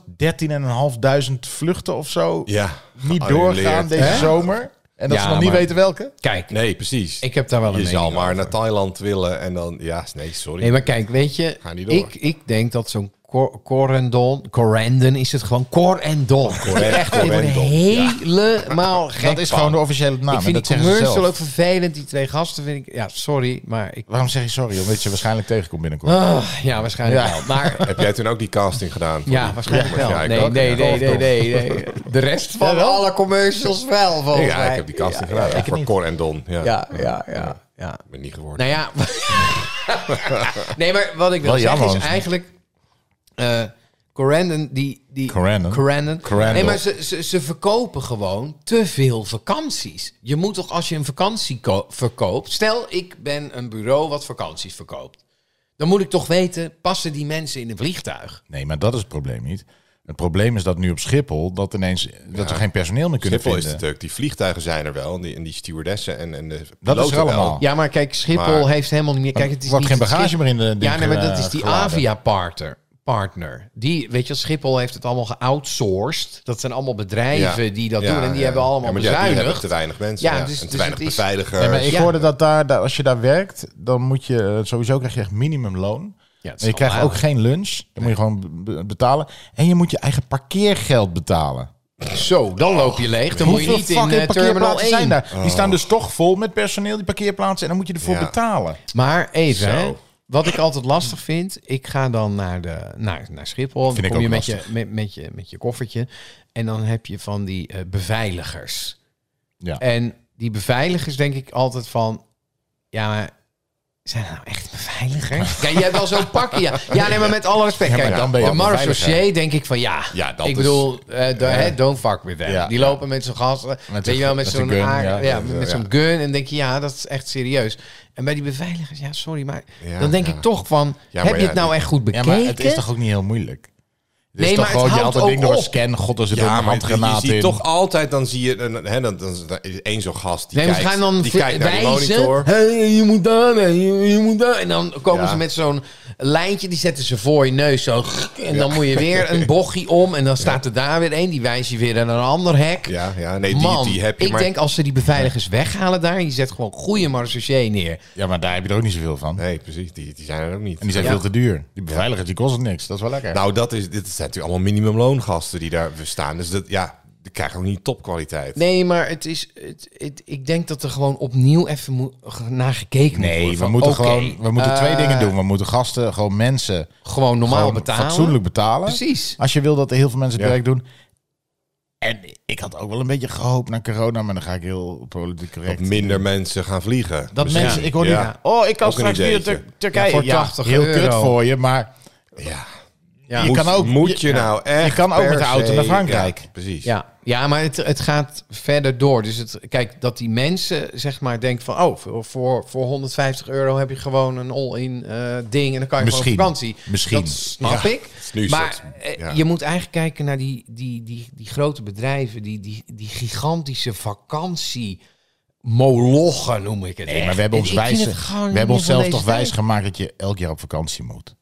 S1: 13.500 vluchten of zo.
S2: Ja.
S1: Niet
S2: geannuleerd.
S1: doorgaan deze
S2: Hè?
S1: zomer. En dat
S3: Ja,
S1: ze nog niet
S3: maar-
S1: weten welke.
S3: Kijk,
S2: Nee, precies.
S3: ik heb daar wel een
S2: je zal
S3: mening
S2: maar
S3: over.
S2: naar Thailand willen en dan... Ja, nee, sorry.
S3: Nee, maar kijk, weet je,
S2: Ga niet door.
S3: ik, ik denk dat zo'n cor- corendon, corendon is het gewoon, corendon. Echt ik word
S2: corendon,
S3: helemaal gek
S1: Dat is gewoon de
S3: van.
S1: officiële naam.
S3: ik
S1: en
S3: vind
S1: dat
S3: die
S1: zeggen ze
S3: commercial ook
S1: zelf.
S3: vervelend. Die twee gasten vind ik... Ja, sorry, maar ik...
S1: Waarom zeg je sorry? Omdat je waarschijnlijk tegenkomt binnenkort.
S3: Ah, ja, waarschijnlijk
S1: Ja.
S3: wel. Maar
S2: Heb jij toen ook die casting gedaan?
S3: ja, waarschijnlijk
S2: Ja,
S3: wel.
S2: ik
S3: nee,
S2: ook,
S3: nee,
S2: ja.
S3: nee, nee, nee, nee. De rest van
S1: Jawel?
S3: alle commercials wel,
S2: Ja,
S3: volgens mij.
S2: ik heb die casting
S3: Ja,
S2: gedaan.
S3: ja,
S2: voor Cor en Don. Ja,
S3: Ja, ja, ja, ja.
S2: Ik ben niet geworden.
S3: Nou ja. nee, maar wat ik wil
S1: Wel
S3: zeggen
S1: jammer,
S3: is
S1: want-
S3: eigenlijk... eh Corandon, die... die
S1: Corandon?
S3: Corandon.
S1: Corandon.
S3: Nee, maar ze, ze, ze verkopen gewoon te veel vakanties. Je moet toch, als je een vakantie ko- verkoopt... Stel, ik ben een bureau wat vakanties verkoopt. Dan moet ik toch weten, passen die mensen in een vliegtuig?
S1: Nee, maar dat is het probleem niet. Het probleem is dat nu op Schiphol dat ineens dat we geen personeel meer kunnen
S2: Schiphol is
S1: vinden.
S2: het ook. Die vliegtuigen zijn er wel. En die, en die stewardessen en, en de
S1: dat is
S2: piloten
S1: er allemaal.
S2: wel.
S3: Ja, maar kijk, Schiphol
S2: Maar-
S3: heeft helemaal niet meer... Kijk, het is
S1: wordt
S3: niet
S1: geen
S3: het
S1: bagage
S3: Schip-
S1: meer in de
S3: Ja,
S1: dingen,
S3: nee, maar dat is
S1: eh,
S3: die
S1: geladen.
S3: Avia-partner. Partner. Die, weet je, Schiphol heeft het allemaal geoutsourced. Dat zijn allemaal bedrijven die dat
S2: Ja,
S3: doen. En die
S2: ja.
S3: hebben allemaal
S2: Ja, maar ja, die
S3: bezuinigd.
S2: hebben te weinig mensen.
S3: Ja,
S2: Ja,
S3: dus-
S2: en te
S3: dus
S2: weinig
S3: het is-
S2: beveiligers.
S1: Nee, maar ik
S3: Ja.
S1: hoorde dat daar, daar- als je daar werkt, dan moet je eh, sowieso krijg je echt minimumloon.
S3: Ja, het is
S1: en je krijgt
S3: allemaal-
S1: ook geen lunch. Dan moet je gewoon be- betalen. En je moet je eigen parkeergeld betalen.
S3: Zo, dan loop je leeg. Dan moet je
S1: Hoeveel
S3: niet in
S1: fucking
S3: eh, Terminal 1.
S1: parkeerplaatsen zijn daar? Die staan dus toch vol met personeel, die parkeerplaatsen. En dan moet je ervoor
S2: Ja.
S1: betalen.
S3: Maar even,
S2: Zo.
S3: hè. Wat ik altijd lastig vind, ik ga dan naar, de, naar, naar Schiphol.
S1: Vind
S3: dan
S1: ik
S3: kom je
S1: ook
S3: met, je
S1: lastig.
S3: met, met je met je koffertje. En dan heb je van die eh, beveiligers.
S1: Ja.
S3: En die beveiligers denk ik altijd van... Ja, maar zijn dat nou echt beveiligers? Kijk, jij hebt wel zo'n pakje. Ja. ja, nee, maar met alle respect.
S1: Ja, maar
S3: Kijk,
S1: dan ben je
S3: de
S1: ook
S3: Maris
S1: beveiliger.
S3: Dossier denk ik van ja.
S2: Ja, dat
S3: ik
S2: is-
S3: bedoel, eh, do- hè, don't fuck with them.
S1: Ja.
S3: die lopen met zo'n gasten.
S1: Met
S3: weet
S1: een-
S3: je wel, met
S1: met
S3: zo'n
S1: een gun,
S3: aar-
S1: ja.
S3: ja, met,
S2: Ja.
S3: zo'n gun. En denk je, ja, dat is echt serieus. En bij die beveiligers, ja, sorry, maar
S2: Ja,
S3: dan denk
S2: ja.
S3: ik toch van,
S2: Ja, maar
S3: heb je
S2: ja,
S3: het nou
S2: die-
S3: echt goed
S1: Ja,
S3: bekeken?
S1: maar het is toch ook niet heel moeilijk? Het
S3: Nee,
S1: is
S3: maar
S1: toch
S3: het
S1: gewoon, je
S3: houdt
S1: haalt dat ding
S3: ook
S1: door een
S3: op.
S1: scan. God, er zit
S2: Ja,
S1: een
S2: maar je
S1: handgranaat
S2: ziet
S1: in.
S2: toch altijd, dan zie je, een- hè, dan, dan, dan is één zo'n gast die
S3: nee, we
S2: kijkt,
S3: gaan dan
S2: die
S3: v-
S2: kijkt naar die
S3: wijzen.
S2: monitor.
S3: Hey, je moet daar, en je, je moet daar. En dan komen
S2: Ja.
S3: ze met zo'n lijntje, die zetten ze voor je neus zo. En dan moet je weer een bochtje om. En dan staat er daar weer één, die wijst je weer naar een ander hek.
S2: Ja, ja, nee, die,
S3: Man,
S2: die heb je.
S3: ik
S2: maar,
S3: denk als ze die beveiligers weghalen daar... en je zet gewoon goede marechaussee neer.
S1: Ja, maar daar heb je er ook niet zoveel van.
S2: Nee, precies, die, die zijn er ook niet.
S1: En die zijn
S3: Ja.
S1: veel te duur. Die beveiligers, die kosten niks. Dat is wel lekker.
S2: Nou, dat is, dit zijn natuurlijk allemaal minimumloongasten die daar staan. Dus dat, ja, die krijgen ook niet topkwaliteit.
S3: Nee, maar het is, het, het- ik denk dat er gewoon opnieuw even moet, ge- naar gekeken moet
S1: Nee,
S3: worden.
S1: we
S3: Van,
S1: moeten
S3: oké,
S1: gewoon we moeten
S3: eh,
S1: twee dingen doen. We moeten gasten, gewoon mensen,
S3: Gewoon normaal
S1: gewoon
S3: betalen.
S1: fatsoenlijk betalen.
S3: Precies.
S1: Als je wil dat heel veel mensen het
S2: Ja.
S1: werk doen. En ik had ook wel een beetje gehoopt naar corona, maar dan ga ik heel politiek
S2: Dat
S1: correct.
S2: minder mensen gaan vliegen.
S1: dat
S2: Misschien.
S1: mensen, ik hoor nu,
S2: Ja.
S1: oh, ik kan
S2: Ook een
S1: straks weer naar
S2: ideetje.
S1: Tur- Turkije.
S3: Ja, voor 80
S1: heel
S3: euro.
S1: kut voor je, maar
S2: Ja.
S3: Ja.
S1: je
S2: Moet-
S1: kan ook...
S2: moet je nou echt
S1: je kan ook
S2: per
S1: met de auto
S2: se-
S1: naar Frankrijk.
S2: Ja, precies.
S3: Ja, ja maar het, het gaat verder door. Dus het, kijk, dat die mensen zeg maar denken van... oh, voor, voor, voor 150 euro heb je gewoon een all-in eh, ding... en dan kan je
S1: Misschien.
S3: gewoon op vakantie.
S1: Misschien.
S3: Dat snap
S2: Ja,
S3: ik.
S2: het is nu
S3: maar
S2: soort-
S3: eh,
S2: ja.
S3: je moet eigenlijk kijken naar die, die, die, die grote bedrijven... die, die, die gigantische vakantie... Molochen noem ik het.
S1: Nee, maar
S3: echt.
S1: we hebben,
S3: Ik-
S1: ons
S3: ik vind
S1: wijs,
S3: het gewoon
S1: we
S3: niet
S1: hebben
S3: meer
S1: onszelf
S3: van
S1: toch
S3: deze
S1: wijs
S3: tijd.
S1: gemaakt dat je elk jaar op vakantie moet.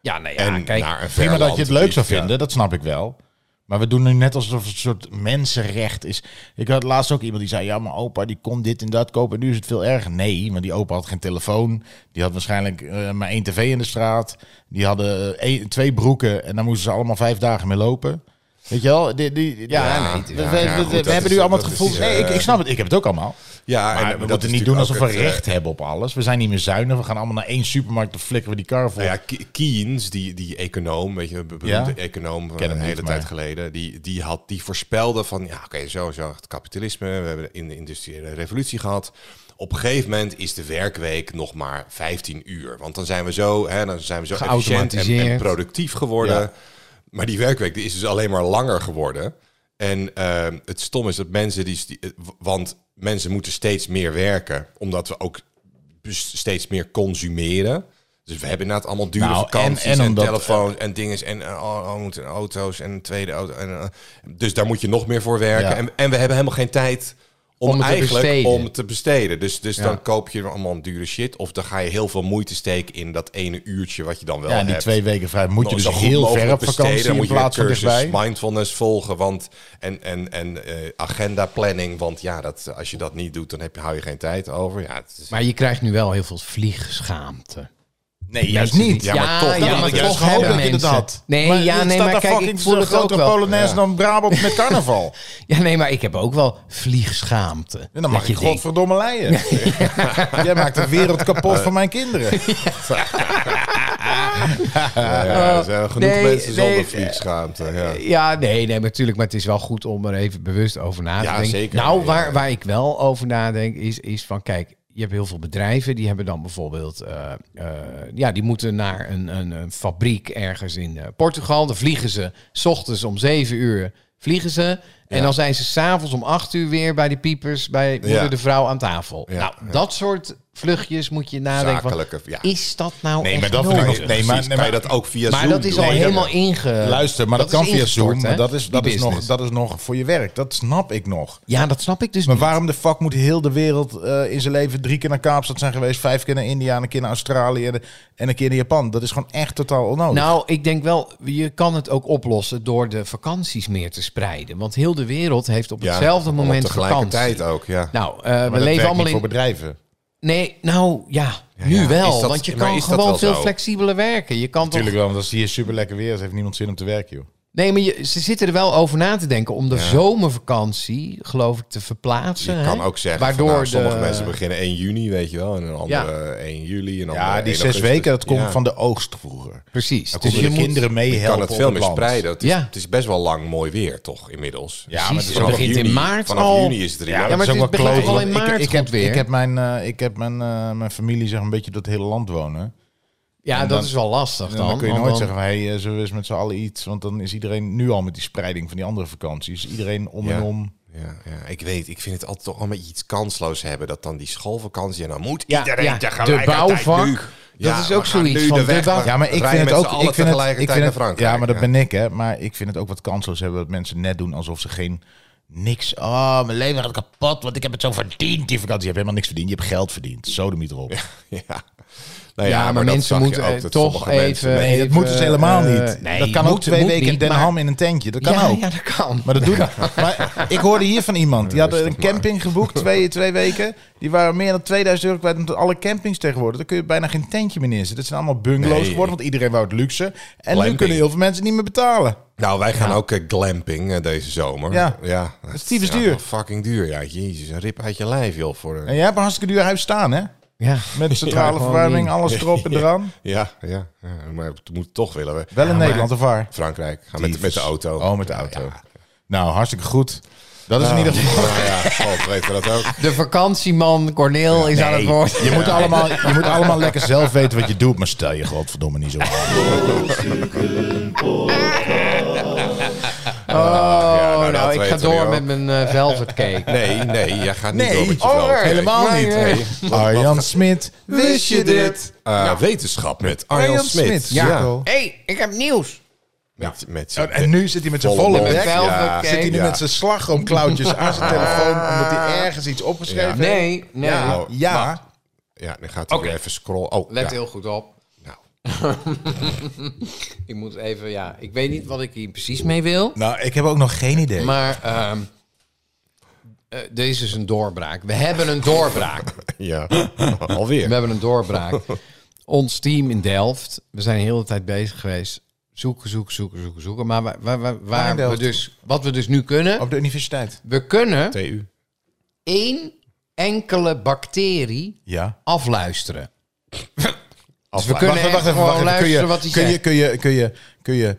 S3: Ja, nee, ja,
S2: En
S3: kijk.
S2: naar een ver
S1: Prima dat je het
S2: land,
S1: leuk zou
S2: ja.
S1: vinden, dat snap ik wel. Maar we doen nu net alsof het een soort mensenrecht is. Ik had laatst ook iemand die zei: Ja, maar opa die kon dit en dat kopen. En nu is het veel erger. Nee, want die opa had geen telefoon. Die had waarschijnlijk eh, maar één tv in de straat. Die hadden eh, één- twee broeken. En daar moesten ze allemaal vijf dagen mee lopen. Weet je wel? Die, die, die-
S3: Ja,
S1: ja,
S3: nee,
S1: we,
S3: ja,
S1: we-
S2: ja,
S1: we-
S2: goed,
S1: we
S2: dat
S1: hebben
S2: is-
S1: nu allemaal het
S2: dat is,
S1: gevoel. nee, ik,
S2: eh,
S1: ik snap het. Ik heb het ook allemaal. Maar
S2: Ja, en
S1: we
S2: dat
S1: moeten
S2: is
S1: niet doen alsof
S2: natuurlijk
S1: we
S2: ook het, eh,
S1: recht hebben op alles. We zijn niet meer zuinig. We gaan allemaal naar één supermarkt. Dan flikken we die kar vol.
S2: Nou ja, Ke- Keynes, die, die econoom, weet je, de beroemde
S1: Ja?
S2: econoom van
S1: Ken hem
S2: een hele
S1: niet,
S2: tijd
S1: maar-
S2: geleden, die, die, had, die voorspelde van, ja oké, zo zo het kapitalisme, we hebben in de industriële revolutie gehad. Op een gegeven moment is de werkweek nog maar 15 uur. Want dan zijn we zo, hè, dan zijn we zo efficiënt en, en
S3: Geautomatiseerd.
S2: productief geworden.
S1: Ja.
S2: Maar die werkweek die is dus alleen maar langer geworden. En eh, het stom is dat mensen die, die- eh, w- Want mensen moeten steeds meer werken, omdat we ook dus steeds meer consumeren. Dus we hebben inderdaad allemaal dure
S1: Nou,
S2: vakanties
S1: en-
S2: en,
S1: en omdat-
S2: telefoons en dingen. En eh, oh, oh, moeten auto's en een tweede auto. En, eh, dus daar moet je nog meer voor werken.
S1: Ja.
S2: En, en we hebben helemaal geen tijd om,
S3: Om het te
S2: eigenlijk
S3: besteden.
S2: om te besteden. Dus, dus dan koop je allemaal dure shit. Of dan ga je heel veel moeite steken in dat ene uurtje wat je dan wel
S1: Ja, en
S2: hebt.
S1: die twee weken vrij moet je
S2: Nou,
S1: dus
S2: zo goed
S1: heel
S2: mogelijk
S1: ver op
S2: besteden.
S1: vakantie
S2: Dan
S1: in
S2: moet je
S1: plaats van
S2: cursus
S1: dichtbij.
S2: mindfulness volgen want, en, en, en eh agenda planning. Want ja, dat, als je dat niet doet, dan heb je, hou je geen tijd over. Ja, het is,
S3: Maar je krijgt nu wel heel veel vliegschaamte.
S1: Nee, juist niet.
S2: Ja, maar toch,
S1: Ja,
S2: dat
S1: maar
S2: is
S1: toch
S2: juist
S1: hoop
S2: hebben
S1: dat je dat had.
S3: Nee, ja, nee, maar kijk, ik voel het ook wel.
S1: Polonaise dan Brabant met carnaval.
S3: Ja, nee, maar ik heb ook wel vliegschaamte.
S1: En dan mag
S3: Dat
S1: je
S3: denkt,
S1: godverdomme leien. Jij maakt de wereld kapot van mijn kinderen.
S2: ja,
S1: eh,
S2: ja, er zijn eh, genoeg
S3: nee,
S2: mensen zonder
S3: nee, eh,
S2: vliegschaamte. Ja.
S3: Ja, nee, nee, natuurlijk. Maar het is wel goed om er even bewust over na te
S2: Ja,
S3: denken.
S2: zeker.
S3: Nou,
S2: Ja.
S3: waar, waar ik wel over nadenk, is, is van kijk, je hebt heel veel bedrijven die hebben dan bijvoorbeeld, eh, eh, ja, die moeten naar een, een, een fabriek ergens in eh, Portugal. Dan vliegen ze, s ochtends om zeven uur vliegen ze. En dan zijn ze s'avonds om acht uur weer bij de piepers, bij moeder
S2: Ja.
S3: de vrouw aan tafel.
S2: Ja,
S3: nou, dat soort vluchtjes moet je nadenken. van,
S2: Zakelijke, ja.
S3: Is dat nou
S1: Nee,
S3: echt
S1: maar dat vind ik
S3: nodig?
S1: nog- nee,
S2: Nee,
S1: maar-
S2: maar,
S1: nee,
S2: kan je
S1: maar-
S2: dat ook via
S3: Maar
S2: Zoom
S3: dat is
S2: doen?
S3: al
S2: Nee,
S3: helemaal inge...
S1: Luister, maar dat,
S3: is
S1: kan via
S3: ingestort,
S1: Zoom.
S3: hè,
S1: Maar dat is, dat,
S3: die
S1: is nog,
S3: business.
S1: dat is nog voor je werk. Dat snap ik nog.
S3: Ja, dat snap ik dus
S1: Maar
S3: niet.
S1: waarom de fuck moet heel de wereld eh, in zijn leven drie keer naar Kaapstad zijn geweest, vijf keer naar India, en een keer naar Australië en- en een keer naar Japan? Dat is gewoon echt totaal onnodig.
S3: Nou, ik denk wel, je kan het ook oplossen door de vakanties meer te spreiden. Want heel de wereld heeft op
S2: Ja,
S3: hetzelfde
S2: allemaal
S3: moment
S2: tegelijkertijd
S3: vakantie.
S2: ook, ja.
S3: Nou, eh, we
S1: Maar dat werkt
S3: leven
S1: niet
S3: allemaal in...
S1: voor bedrijven.
S3: Nee, nou ja, nu
S2: ja.
S3: wel.
S2: Is dat-
S3: want je
S2: maar
S3: kan
S2: is dat wel
S3: gewoon veel
S2: zo?
S3: flexibeler werken. Je kan toch-
S1: Natuurlijk wel, want als het hier super lekker weer is, heeft niemand zin om te werken, joh.
S3: Nee, maar je, ze zitten er wel over na te denken om de zomervakantie, geloof ik, te verplaatsen.
S2: Je
S3: hè?
S2: kan ook zeggen, van,
S3: eh, Waardoor
S2: nou, sommige
S3: de-
S2: mensen beginnen 1 juni, weet je wel. En een andere 1 juli. En
S3: eh,
S1: Ja, die zes weken, dat komt van de oogst vroeger.
S3: Precies.
S1: Dan
S3: Dus
S1: konden
S3: je
S1: de
S3: moet...
S1: kinderen
S2: Je kan
S1: meehelpen
S2: het
S1: op
S2: veel meer
S1: land.
S2: spreiden. Het is,
S3: Ja.
S2: het is best wel lang mooi weer, toch, inmiddels.
S1: Ja, maar het is
S3: Precies, het
S1: vanaf
S3: begint in maart
S2: vanaf
S3: al.
S2: juni is
S1: Ja,
S2: het ja,
S1: maar
S3: maar
S1: het is ook
S3: het
S1: wel
S3: begint
S1: kloot.
S3: toch al in
S1: want
S3: maart
S1: ik, ik, heb,
S3: goed weer?
S1: ik heb mijn, eh, ik heb mijn, eh, mijn familie zeg een beetje door het hele land wonen.
S3: Ja,
S1: En
S3: dat
S1: dan-
S3: is wel lastig
S1: En
S3: dan.
S1: dan, kun je
S3: want
S1: nooit
S3: dan-
S1: zeggen, van, hey, eh, zullen we eens met z'n allen iets? Want dan is iedereen nu al met die spreiding van die andere vakanties. Iedereen om en
S2: Ja.
S1: om.
S2: Ja, ja, ik weet, ik vind het altijd toch allemaal iets kansloos hebben. Dat dan die schoolvakantie en dan moet
S3: Ja,
S2: iedereen
S3: ja,
S2: tegelijkertijd
S3: de bouwvak,
S2: nu.
S3: dat is ook
S2: we gaan
S3: zoiets
S2: nu
S3: van de
S2: weg,
S3: bouw-
S2: we
S1: Ja, maar ik
S2: rijden
S1: vind het
S2: met
S1: ook.
S2: z'n allen
S1: Ik vind het, ik
S2: tegelijkertijd
S1: vind het,
S2: naar Frankrijk.
S1: ja, maar dat ben ik, hè. Maar ik vind het ook wat kansloos hebben dat mensen net doen alsof ze geen niks. Oh, mijn leven gaat kapot, want ik heb het zo verdiend. Die vakantie je hebt helemaal niks verdiend. Je hebt geld verdiend. Zo de erop.
S2: Ja. Nou
S3: Ja, maar
S2: dat
S3: mensen
S2: zag je
S3: moeten
S2: ook,
S3: eh,
S2: dat
S3: toch
S2: sommige mensen-
S3: even...
S2: Nee,
S1: Nee, dat
S3: even,
S1: moet dus helemaal
S3: eh,
S1: niet.
S3: nee,
S1: dat kan
S3: moet-
S1: ook twee
S3: moet
S1: weken in
S3: niet,
S1: Den
S3: maar-
S1: Ham in een tentje. Dat kan
S3: ja,
S1: ook.
S3: Ja, dat kan.
S1: Maar dat doen Maar ik hoorde hier van iemand. Die had een camping geboekt, twee, twee weken. Die waren meer dan 2000 euro kwijt. Omdat alle campings tegenwoordig, daar kun je bijna geen tentje meer neerzetten. Dat zijn allemaal bungalows
S2: Nee.
S1: geworden, want iedereen wou het luxe. En nu
S2: Glamping.
S1: kunnen heel veel mensen niet meer betalen.
S2: Nou, wij gaan ook eh, glamping eh, deze zomer.
S1: Ja.
S2: Dat
S1: is typisch duur.
S2: wel Fucking duur, ja. Jezus, een rip uit je lijf, joh. Voor een-
S1: En Nou, jij hebt een hartstikke duur huis staan, hè?
S3: Ja.
S1: Met centrale
S3: gewoon
S1: verwarming,
S3: niet.
S1: alles erop en eraan.
S2: Ja, ja, ja. Maar het moet toch willen we.
S1: Wel in Nederland, of waar?
S2: Frankrijk. Gaan met, de- met de auto.
S1: Oh, met de auto. Nou, hartstikke goed. Dat is in ieder geval...
S2: Nou ja, god, weten we dat ook.
S3: De vakantieman Corneel is aan het
S1: Nee,
S3: woord.
S1: je, moet allemaal, je moet allemaal lekker zelf weten wat je doet, maar stel je godverdomme niet zo aan.
S3: Oh,
S2: Ja, nou,
S3: nou,
S2: dat
S3: ik ga
S2: weten we
S3: door
S2: nu
S3: met
S2: ook.
S3: mijn eh, velvet cake.
S2: Nee, nee, jij gaat niet
S1: Nee,
S2: door met je
S1: oh,
S2: vrouw.
S1: Helemaal
S3: Nee,
S1: niet.
S3: nee.
S1: Hey, Arjan Smit, wist je dit?
S2: Eh, Wetenschap met Arjan,
S1: Arjan
S2: Smit.
S1: Smit,
S2: Ja.
S1: ja.
S3: hey, ik heb nieuws.
S2: Met, met
S1: En en nu zit hij met zijn
S2: Volle
S1: volle
S2: mond.
S1: bek.
S3: Velvet cake.
S1: Zit hij nu
S2: Ja.
S1: met zijn slagroomklauwtjes aan zijn telefoon omdat hij ergens iets opgeschreven heeft?
S3: Nee, nee.
S1: Ja.
S2: Ja, dan gaat hij weer even scrollen. Oh,
S3: Let
S2: ja.
S3: heel goed op.
S2: Nou,
S3: Ik moet even, ja, ik weet niet wat ik hier precies mee wil.
S1: Nou, ik heb ook nog geen idee.
S3: Maar ehm eh, deze is een doorbraak. We hebben een doorbraak.
S2: Ja, Oh,
S3: We
S2: alweer.
S3: hebben een doorbraak. Ons team in Delft, we zijn de hele tijd bezig geweest. Zoeken, zoeken, zoeken, zoeken, zoeken. Maar waar, waar, waar,
S1: Waar in
S3: waar we
S1: Delft? Oh.
S3: dus, wat we dus nu kunnen,
S1: Op de universiteit.
S3: we kunnen
S2: TU.
S3: één enkele bacterie
S1: Ja.
S3: afluisteren.
S2: Af,
S3: we kunnen-
S1: Wacht, wacht even,
S3: gewoon
S1: wacht even. Kun je,
S3: luisteren wat hij
S1: kun, je,
S3: zegt.
S1: kun, je, kun, je, kun je...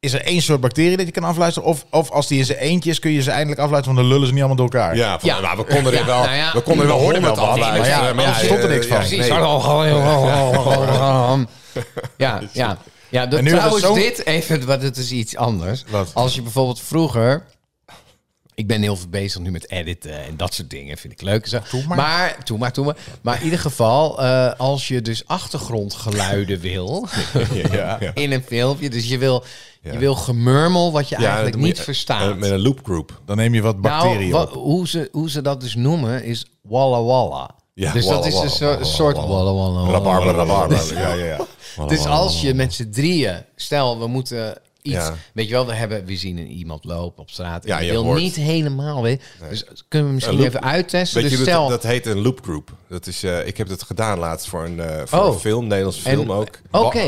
S1: Is er één soort bacterie dat je kan afluisteren? Of, of als die in zijn eentje is, kun je ze eindelijk afluisteren, want dan lullen ze niet allemaal door elkaar.
S2: ja, van,
S3: Ja.
S2: nou, we konden er
S3: Ja,
S2: wel,
S3: nou ja.
S2: we konden er wel
S3: We hoorden
S2: honderd
S3: het al.
S2: af
S1: Maar ja,
S2: luisteren.
S1: er stond er niks
S2: eh,
S1: van.
S3: Precies.
S2: nee.
S3: Ja, ja. Ja, de,
S1: En nu is
S3: trouwens,
S1: het zo-
S3: dit even, want het is iets anders.
S1: Wat?
S3: Als je bijvoorbeeld vroeger... Ik ben heel veel bezig nu met editen en dat soort dingen. Vind ik leuk. en Zo.
S1: maar.
S3: maar, doe maar, doe maar. Maar in ieder geval, eh, als je dus achtergrondgeluiden wil
S2: Ja, ja.
S3: in een filmpje. Dus je wil, je wil gemurmel wat je
S2: Ja,
S3: eigenlijk
S2: dat moet
S3: niet
S2: je-
S3: verstaat.
S2: eh, Met een loop group.
S1: Dan neem je wat bacteriën
S3: Nou,
S1: op.
S3: wa- hoe, ze, hoe ze dat dus noemen is walla walla.
S2: Ja,
S3: dus
S2: walla
S3: dat is
S2: walla,
S3: een soort-
S2: walla
S3: soort
S2: walla.
S3: walla walla. walla.
S2: Rabarber, rabarber.
S1: Ja, ja, ja.
S3: Dus als je met z'n drieën, stel we moeten iets,
S2: Ja.
S3: weet je wel, we hebben, we zien een iemand lopen op straat.
S2: Ja,
S3: Ja, je
S2: je
S3: wil
S2: hoort.
S3: niet helemaal, weet, dus kunnen we misschien
S2: Een loop-
S3: even uittesten.
S2: Weet
S3: Dus
S2: je,
S3: stel,
S2: dat, dat heet een loop group. Dat is, eh, ik heb dat gedaan laatst voor een, eh, voor
S3: Oh.
S2: een film, Nederlands
S3: En- Oh,
S2: film ook.
S3: oké.
S2: Eh,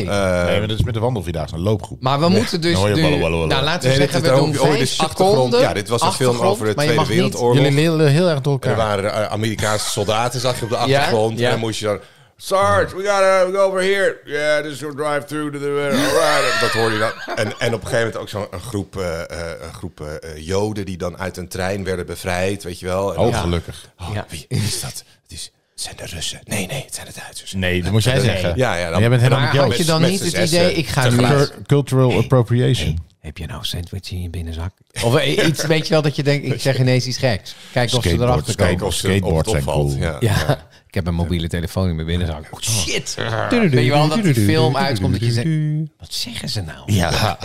S1: nee, maar dat is met de wandelvierdaagse, een loopgroep.
S3: maar we moeten dus
S1: dan hoor je
S3: nu,
S1: walla, walla, walla.
S3: nou laten we
S2: Nee, dit
S3: zeggen,
S2: is
S3: we
S2: de
S3: doen
S2: hoofd- oh, dit
S3: vijf
S2: is achtergrond.
S3: seconden.
S2: Ja, dit was een film
S3: achtergrond,
S2: over de
S3: maar je
S2: Tweede
S3: mag niet-
S2: Wereldoorlog.
S1: Jullie leren heel erg door
S2: er
S1: elkaar.
S2: waren eh, Amerikaanse soldaten, zag je op de achtergrond.
S3: ja.
S2: En dan moest je dan... Sarge, we gotta go over here. Yeah, this is your drive-through. to the- Alright. Dat hoorde je dan. En, en op een gegeven moment ook zo'n een groep, eh, eh, een groep eh, eh, joden die dan uit een trein werden bevrijd, weet je wel. En
S1: Oh,
S2: dan-
S1: gelukkig.
S2: Oh,
S3: Ja.
S2: Wie wie is dat? Het is, het zijn de Russen. Nee, nee, het zijn de Duitsers.
S1: Nee, dat moest jij zeggen.
S2: Ja, ja, dan-
S1: jij bent helemaal
S3: Maar
S1: met jou.
S3: had je dan
S2: Met
S3: niet
S2: z'n
S3: het
S2: zessen
S3: idee, ik ga nu...
S2: tegelijk.
S3: eens-
S1: Cur- Cultural appropriation.
S3: Heb je nou een sandwich in je binnenzak? Of eh, iets, weet je wel, dat je denkt, ik zeg ineens iets geks. Kijk of ze
S1: Skateboard,
S3: erachter
S1: skateboard.
S3: komen.
S2: Of ze- of het
S1: Skateboards zijn
S2: opvalt,
S1: cool.
S2: Ja.
S3: Ja, ik heb een mobiele telefoon in mijn binnenzak. Oh, shit! Weet je wel dat die film uitkomt dat je zegt, wat zeggen ze nou?
S1: Ja.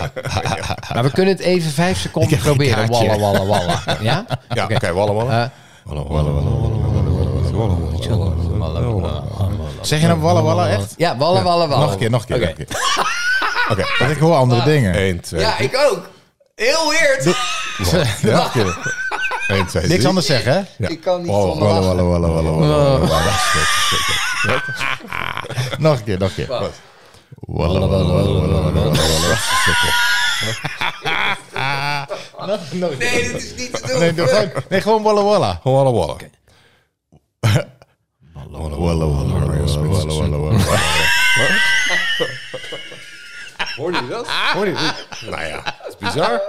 S3: Maar we kunnen het even vijf seconden proberen. Walla, walla, walla. Ja?
S2: Ja, oké, wallen, wallen.
S3: Eh,
S2: Wallen, wallen, wallen, wallen, wallen, wallen, wallen, wallen, wallen, wallen, wallen.
S1: Zeg je nou walla walla echt?
S3: Ja, walla, walla, walla.
S1: Nog een keer, nog een keer.
S3: Oké.
S1: nog een keer. Oké, want ik hoor andere dingen.
S2: Eén, twee,
S3: Ja, ik ook. Heel weird.
S1: Nog een keer.
S2: één, twee,
S1: Niks
S2: drie.
S1: anders zeggen, hè?
S3: Ik kan niet
S2: Walla,
S3: zonder
S1: Walla
S3: lachen.
S1: walla walla walla walla, walla. Dat is goed, dat is goed. Nog een keer, nog een keer. Walla
S2: Oh,
S1: walla walla walla walla, walla. Nog- nog een keer.
S3: Nee, dit is niet te doen.
S1: Nee, doe gewoon- Nee, gewoon walla walla.
S2: Wallen, wallen.
S1: Walla walla walla walla walla walla walla.
S2: Hoorde je dat?
S1: Hoor je?
S2: Nou ja, dat is bizar.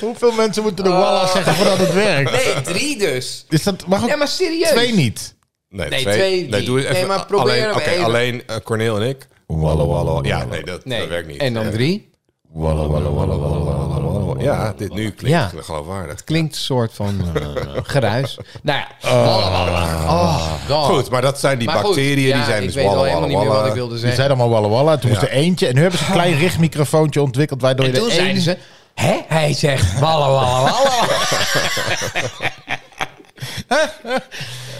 S1: Hoeveel mensen moeten de walla zeggen voordat het werkt?
S3: Nee, drie dus.
S1: Is dat, mag ook
S3: Ja, maar serieus.
S1: twee niet?
S3: Nee, twee niet.
S2: nee, doe het
S3: Nee,
S2: even.
S3: maar probeer
S2: alleen,
S3: hem
S2: oké,
S3: even.
S2: alleen eh, Corneel en ik. Wallen, wallen. Ja, nee, dat,
S3: Nee.
S2: dat werkt niet.
S3: En dan
S2: Eh,
S3: drie.
S1: Walla walla walla walla walla walla.
S2: wallen. Ja, dit nu klinkt
S3: Ja.
S2: geloofwaardig.
S3: Klinkt een soort van eh, geruis. Nou ja. Walla, walla.
S1: Ah.
S3: Oh, God.
S2: Goed, maar dat zijn die
S3: Maar goed,
S2: bacteriën,
S3: ja,
S2: die zijn
S3: ik
S2: dus
S3: weet al
S2: wallen,
S3: helemaal
S2: wallen,
S3: niet meer wat ik
S2: wallen.
S3: wilde
S1: Die
S3: zeggen.
S1: zei allemaal walla walla. Toen moest
S2: Ja.
S1: er eentje. En nu hebben ze een klein richtmicrofoontje ontwikkeld. Waardoor je
S3: En toen
S1: er één...
S3: zeiden ze, hè? Hij zegt walla walla walla.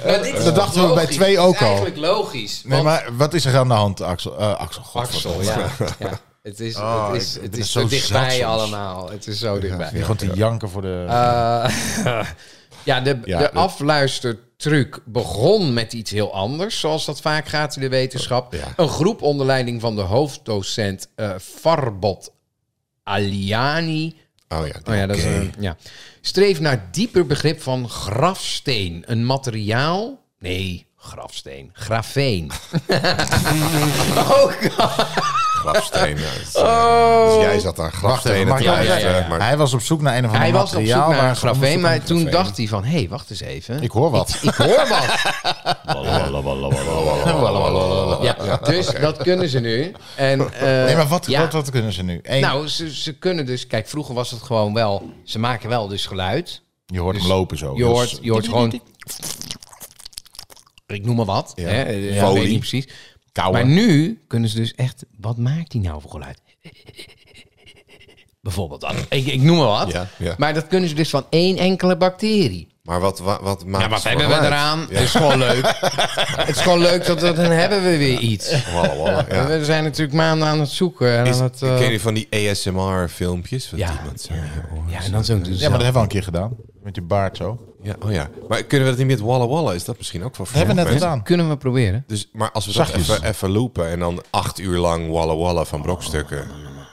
S3: maar dit is
S1: Dat dachten we bij
S3: logisch.
S1: twee
S3: Dit is
S1: ook al.
S3: Eigenlijk logisch.
S1: Nee,
S3: want-
S1: maar wat is er aan de hand, Axel? Eh, Axel, godverdomme.
S3: Axel, ja. ja. Het is,
S1: Oh,
S3: het is,
S1: ik
S3: het
S1: ben
S3: is
S1: zo
S3: zo dichtbij
S1: zat soms.
S3: allemaal. Het is zo dichtbij.
S1: Gewoon te janken voor de...
S3: Eh, ja, de,
S2: Ja,
S3: de
S2: dat-
S3: afluistertruc begon met iets heel anders, zoals dat vaak gaat in de wetenschap.
S2: Ja.
S3: Een groep onder leiding van de hoofddocent eh, Farbot Aliani.
S2: Oh ja,
S3: Oh ja, dat
S2: oké.
S3: is een, ja. Streef naar dieper begrip van grafsteen. Een materiaal. Nee, grafsteen. Grafeen. oh, God.
S2: grafsteen. ja, dat is, eh, Dus jij zat aan grafstenen
S1: mag
S2: te
S1: ik- ja, ja,
S2: luisteren,
S3: ja, ja.
S2: maar-
S1: Hij was op zoek naar een of ander
S3: Hij was op zoek
S1: materiaal.
S3: naar een
S1: waar ze onderzoek
S3: grafeen,
S1: aan
S3: maar
S1: het
S3: toen
S1: grafeen.
S3: dacht hij van... Hé, hey, wacht eens even.
S1: Ik hoor wat.
S3: Ik hoor wat. Ja, dus dat kunnen ze nu. En, eh,
S1: Nee, maar wat,
S3: ja.
S1: wat, wat kunnen ze nu? Eén,
S3: Nou, ze, ze kunnen dus... Kijk, vroeger was het gewoon wel... Ze maken wel dus geluid.
S1: je hoort hem lopen zo.
S3: Je
S1: Dus-
S3: hoort, je hoort gewoon... Ik noem maar wat. Hè? eh, ja,
S2: Folie.
S3: weet niet precies.
S1: Kauwen.
S3: Maar nu kunnen ze dus echt... Wat maakt die nou voor geluid? Bijvoorbeeld dat. Ik, ik noem maar wat.
S2: Ja, ja.
S3: Maar dat kunnen ze dus van één enkele bacterie.
S2: Maar wat, wat, wat maakt
S3: Ja, wat
S2: het
S3: hebben we
S2: voor uit?
S3: eraan?
S2: Ja.
S3: Het is gewoon leuk. het is gewoon leuk dat we, dan hebben we weer iets.
S2: Wallah, wallah, ja.
S3: We zijn natuurlijk maanden aan het zoeken. En
S2: Is,
S3: aan het, eh,
S2: Ken je van die ASMR-filmpjes?
S3: Ja.
S2: Iemand zei,
S3: ja, en dan zo'n dus.
S1: Ja, maar dat hebben we al een keer gedaan. Met je baard zo.
S2: ja, oh ja. Maar kunnen we dat niet met Walla Walla? Is dat misschien ook wel voor
S1: hebben we net
S2: mensen?
S1: gedaan.
S3: Kunnen we proberen?
S2: Dus, maar als we dat
S1: Zachtjes.
S2: even, even loopen en dan acht uur lang Walla Walla van brokstukken.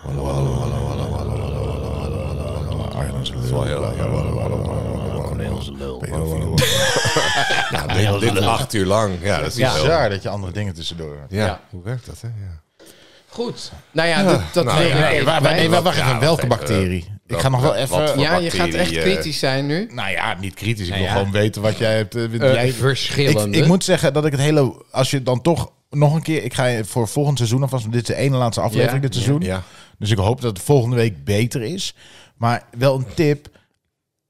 S2: Walla Walla Walla Walla Walla Walla Walla Walla Walla Walla Walla. Dat is wel heel leuk. Walla Walla Walla Walla Walla. Ja, dit- Dit acht uur lang. Ja, dat is
S3: Ja.
S2: heel... Ja,
S1: Bizar dat je andere dingen tussendoor...
S3: Ja.
S2: hoe werkt dat, hè? Ja.
S3: Goed. Nou ja, dat, dat
S2: nou,
S3: nee,
S2: ja,
S1: Waar-
S3: nee,
S1: waar-
S3: wij-
S1: nee, wacht, wacht
S2: Ja,
S1: even.
S2: wat
S1: welke
S2: even,
S1: bacterie? ik
S2: wat-
S1: ga nog wel
S2: wat- wat
S1: even...
S2: voor-
S3: Ja, je gaat echt
S2: bacterie, eh,
S3: kritisch zijn nu.
S1: Nou ja, niet kritisch. Ik
S3: Nou
S1: wil
S3: ja.
S1: gewoon weten wat jij hebt... eh, jij- ik,
S3: verschillende.
S1: ik moet zeggen dat ik het hele... Als je dan toch nog een keer... Ik ga je voor volgend seizoen alvast... want Dit is de ene laatste aflevering
S3: Ja.
S1: dit seizoen.
S2: Ja.
S1: Dus ik hoop dat het volgende week beter is. Maar wel een tip.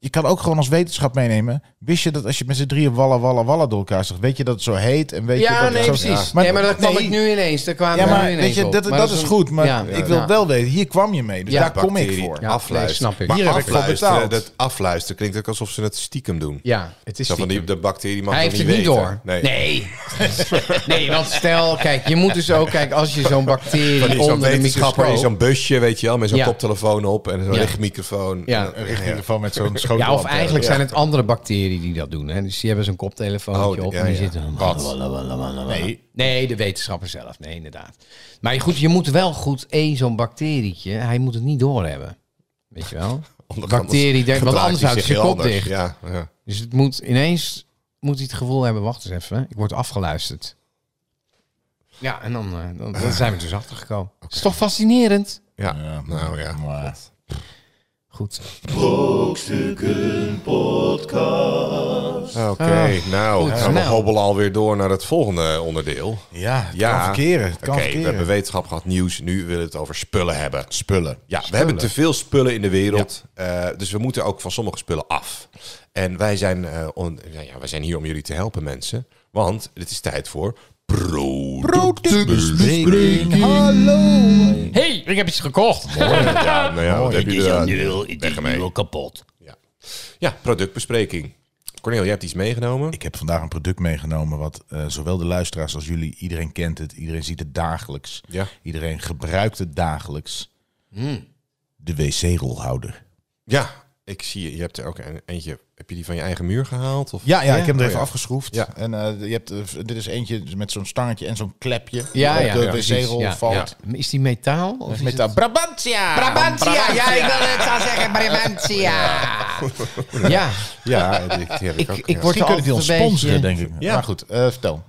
S1: Je kan ook gewoon als wetenschap meenemen. Wist je dat als je met z'n drieën wallen, wallen, wallen door elkaar zegt... Weet je dat het zo heet? En weet je
S3: ja,
S1: dat
S3: nee,
S1: het zo...
S3: precies. Maar, nee, maar dat kwam
S1: nee.
S3: ik nu ineens. Daar kwamen
S1: Ja,
S3: we
S1: maar
S3: nu ineens
S1: weet je,
S3: op.
S1: dat,
S3: Maar
S1: dat is
S3: een-
S1: goed. Maar
S3: ja,
S1: ik wil
S3: ja.
S1: wel weten, hier kwam je mee. Dus
S3: Ja,
S1: daar kom ik
S2: Bacterie,
S1: voor.
S3: Ja,
S2: afluisteren.
S3: nee, snap ik.
S2: Maar
S1: Hier heb ik voor
S2: afluisteren,
S1: betaald.
S2: dat afluisteren klinkt ook alsof ze het stiekem doen.
S3: Ja, het is
S2: Zo van die,
S3: stiekem.
S2: de bacterie mag
S3: Hij
S2: dat
S3: heeft het niet
S2: weten.
S3: door.
S2: Nee.
S3: Nee. Nee, want stel, kijk, je moet dus ook, kijk, als je zo'n
S2: Van
S3: bacterie
S2: die zo'n
S3: onder de
S2: wetenschapper in
S3: microscoop...
S2: zo'n busje, weet je wel, met zo'n
S3: Ja.
S2: koptelefoon op en zo'n
S3: Ja.
S2: lichtmicrofoon.
S3: Ja.
S2: En dan-
S1: Een Richtinggelefoon met zo'n schotel.
S3: Ja, of
S1: op, eh,
S3: eigenlijk
S1: ja.
S3: zijn het andere bacteriën die dat doen. Hè? Dus die hebben zo'n koptelefoontje
S2: Oh,
S3: op
S2: ja,
S3: en die
S2: ja.
S3: zitten...
S1: Nee.
S3: Nee, de wetenschapper zelf. Nee, inderdaad. Maar goed, je moet wel goed één zo'n bacterietje... Hij moet het niet doorheben. Weet je wel?
S2: Anders-
S3: Bacterie, denkt, want
S2: gedraagt
S3: anders
S2: hij
S3: houdt
S2: zich
S3: ze
S2: heel
S3: kop
S2: anders.
S3: dicht.
S2: Ja, ja.
S3: Dus het moet ineens moet hij het gevoel hebben, wacht eens even, ik word afgeluisterd. Ja, en dan, eh, dan, dan zijn we dus achtergekomen. Het is toch fascinerend?
S2: Ja.
S1: Ja.
S2: nou ja.
S1: Maar-
S3: Goed.
S2: Oké, nou, gaan we
S3: nou.
S2: hobbelen alweer door naar het volgende onderdeel.
S1: Ja, het
S2: Ja.
S1: kan verkeren. Het
S2: Oké,
S1: kan
S2: we
S1: verkeren.
S2: hebben wetenschap gehad, nieuws. Nu willen we het over spullen hebben.
S1: spullen.
S2: Ja, we hebben te veel spullen in de wereld. eh, dus we moeten ook van sommige spullen af. En wij zijn, eh, on- nou ja, wij zijn hier om jullie te helpen, mensen. Want het is tijd voor productbespreking.
S1: Hallo.
S3: hey, ik heb iets gekocht.
S2: Ja, nou ja, wat heb je er-
S4: Weg ermee. kapot.
S2: Ja. ja, productbespreking. Cornel, jij hebt iets meegenomen.
S1: Ik heb vandaag een product meegenomen wat eh, zowel de luisteraars als jullie, iedereen kent het, iedereen ziet het dagelijks.
S2: Ja.
S1: Iedereen gebruikt het dagelijks. De wc-rolhouder.
S2: Ja, ik zie je. Je hebt er ook een, eentje. Heb je die van je eigen muur gehaald? Of?
S1: Ja, ja, ik heb hem er
S2: Oh,
S1: even
S2: ja.
S1: afgeschroefd.
S2: Ja.
S1: En eh, je hebt, eh, dit is eentje met zo'n stangetje en zo'n klepje.
S3: Ja,
S1: op
S3: ja.
S1: de
S3: ja, precies.
S1: wc-rol
S3: Ja,
S1: valt.
S3: ja. Is die metaal? Of is
S1: Met de Brabantia.
S3: Brabantia! Ja, ik wil het al zeggen, Brabantia! Ja,
S2: Ja, die, die heb ik,
S3: ik,
S2: ook.
S3: ik
S2: ja.
S3: word er
S1: Misschien kunnen
S3: altijd
S1: die
S3: een
S1: ons sponsoren,
S3: beetje...
S1: denk ik. Ja, maar goed, eh, vertel.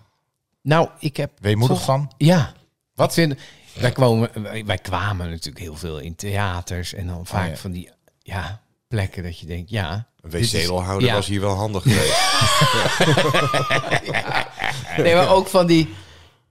S3: Nou, ik heb
S1: Weemoedig
S3: toch-
S1: van?
S3: Ja. Wat? Vind, wij, kwamen, wij, wij kwamen natuurlijk heel veel in theaters en dan vaak
S1: Oh, ja.
S3: van die ja, plekken dat je denkt, ja.
S2: Een
S3: dit is-
S2: wc-rolhouder
S3: Ja.
S2: was hier wel handig geweest.
S3: Nee, maar ook van die,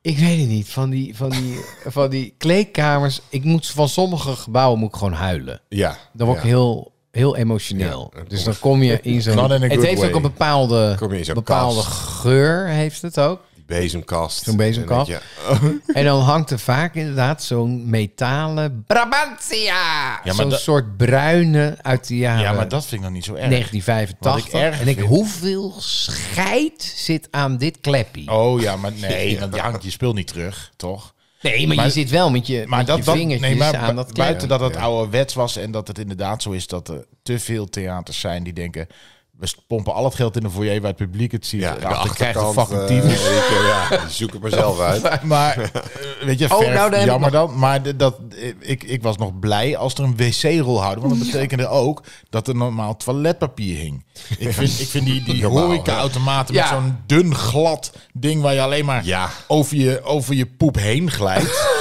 S3: ik weet het niet, van die, van die, van die kleedkamers. Ik moet van sommige gebouwen moet ik gewoon huilen.
S2: ja.
S3: Dan word ik
S2: Ja.
S3: heel, heel emotioneel.
S2: Ja, dat
S3: dus
S2: komt-
S3: dan kom je in
S1: Not
S3: zo'n.
S1: in a
S3: Het
S1: good
S3: heeft
S1: way.
S3: ook een bepaalde,
S2: Kom je in zo'n
S3: bepaalde
S2: kast.
S3: geur, heeft het ook.
S2: Die bezemkast.
S3: Zo'n bezemkast.
S2: En dan denk je,
S1: oh.
S3: En dan hangt er vaak inderdaad zo'n metalen Brabantia.
S1: maar
S3: zo'n
S1: dat-
S3: soort bruine uit de jaren
S1: Ja, maar dat vind ik nog niet zo erg.
S3: 1985.
S1: Wat ik erg
S3: en ik,
S1: vind-
S3: hoeveel scheid zit aan dit kleppie?
S1: Oh ja, maar nee, want je hangt je spul niet terug, toch?
S3: nee, maar, je
S1: maar-
S3: zit wel met je,
S1: Maar
S3: met
S1: dat,
S3: je
S1: dat,
S3: vingertjes
S1: nee, maar
S3: aan
S1: bu-
S3: dat kleppie.
S1: buiten dat het ouderwets was en dat het inderdaad zo is dat er te veel theaters zijn die denken... we pompen al het geld in de foyer waar het publiek het ziet.
S2: Ja,
S1: Ja,
S2: de
S1: Daarachter krijgt een
S2: achterkant.
S1: fucking
S2: eh,
S1: tyfus.
S2: ja, die zoek het maar zelf uit.
S1: Maar, eh, weet je,
S3: nou,
S1: verf,
S3: daar heb ik
S1: jammer dan. Maar d- dat, ik, ik was nog blij als er een wc-rolhouder... want dat betekende ook dat er normaal toiletpapier hing. Ik vind, ik vind die, die
S2: Normaal,
S1: horeca-automaten
S3: Ja.
S1: met zo'n dun, glad ding... waar je alleen maar
S2: Ja.
S1: over, je, over je poep heen glijdt...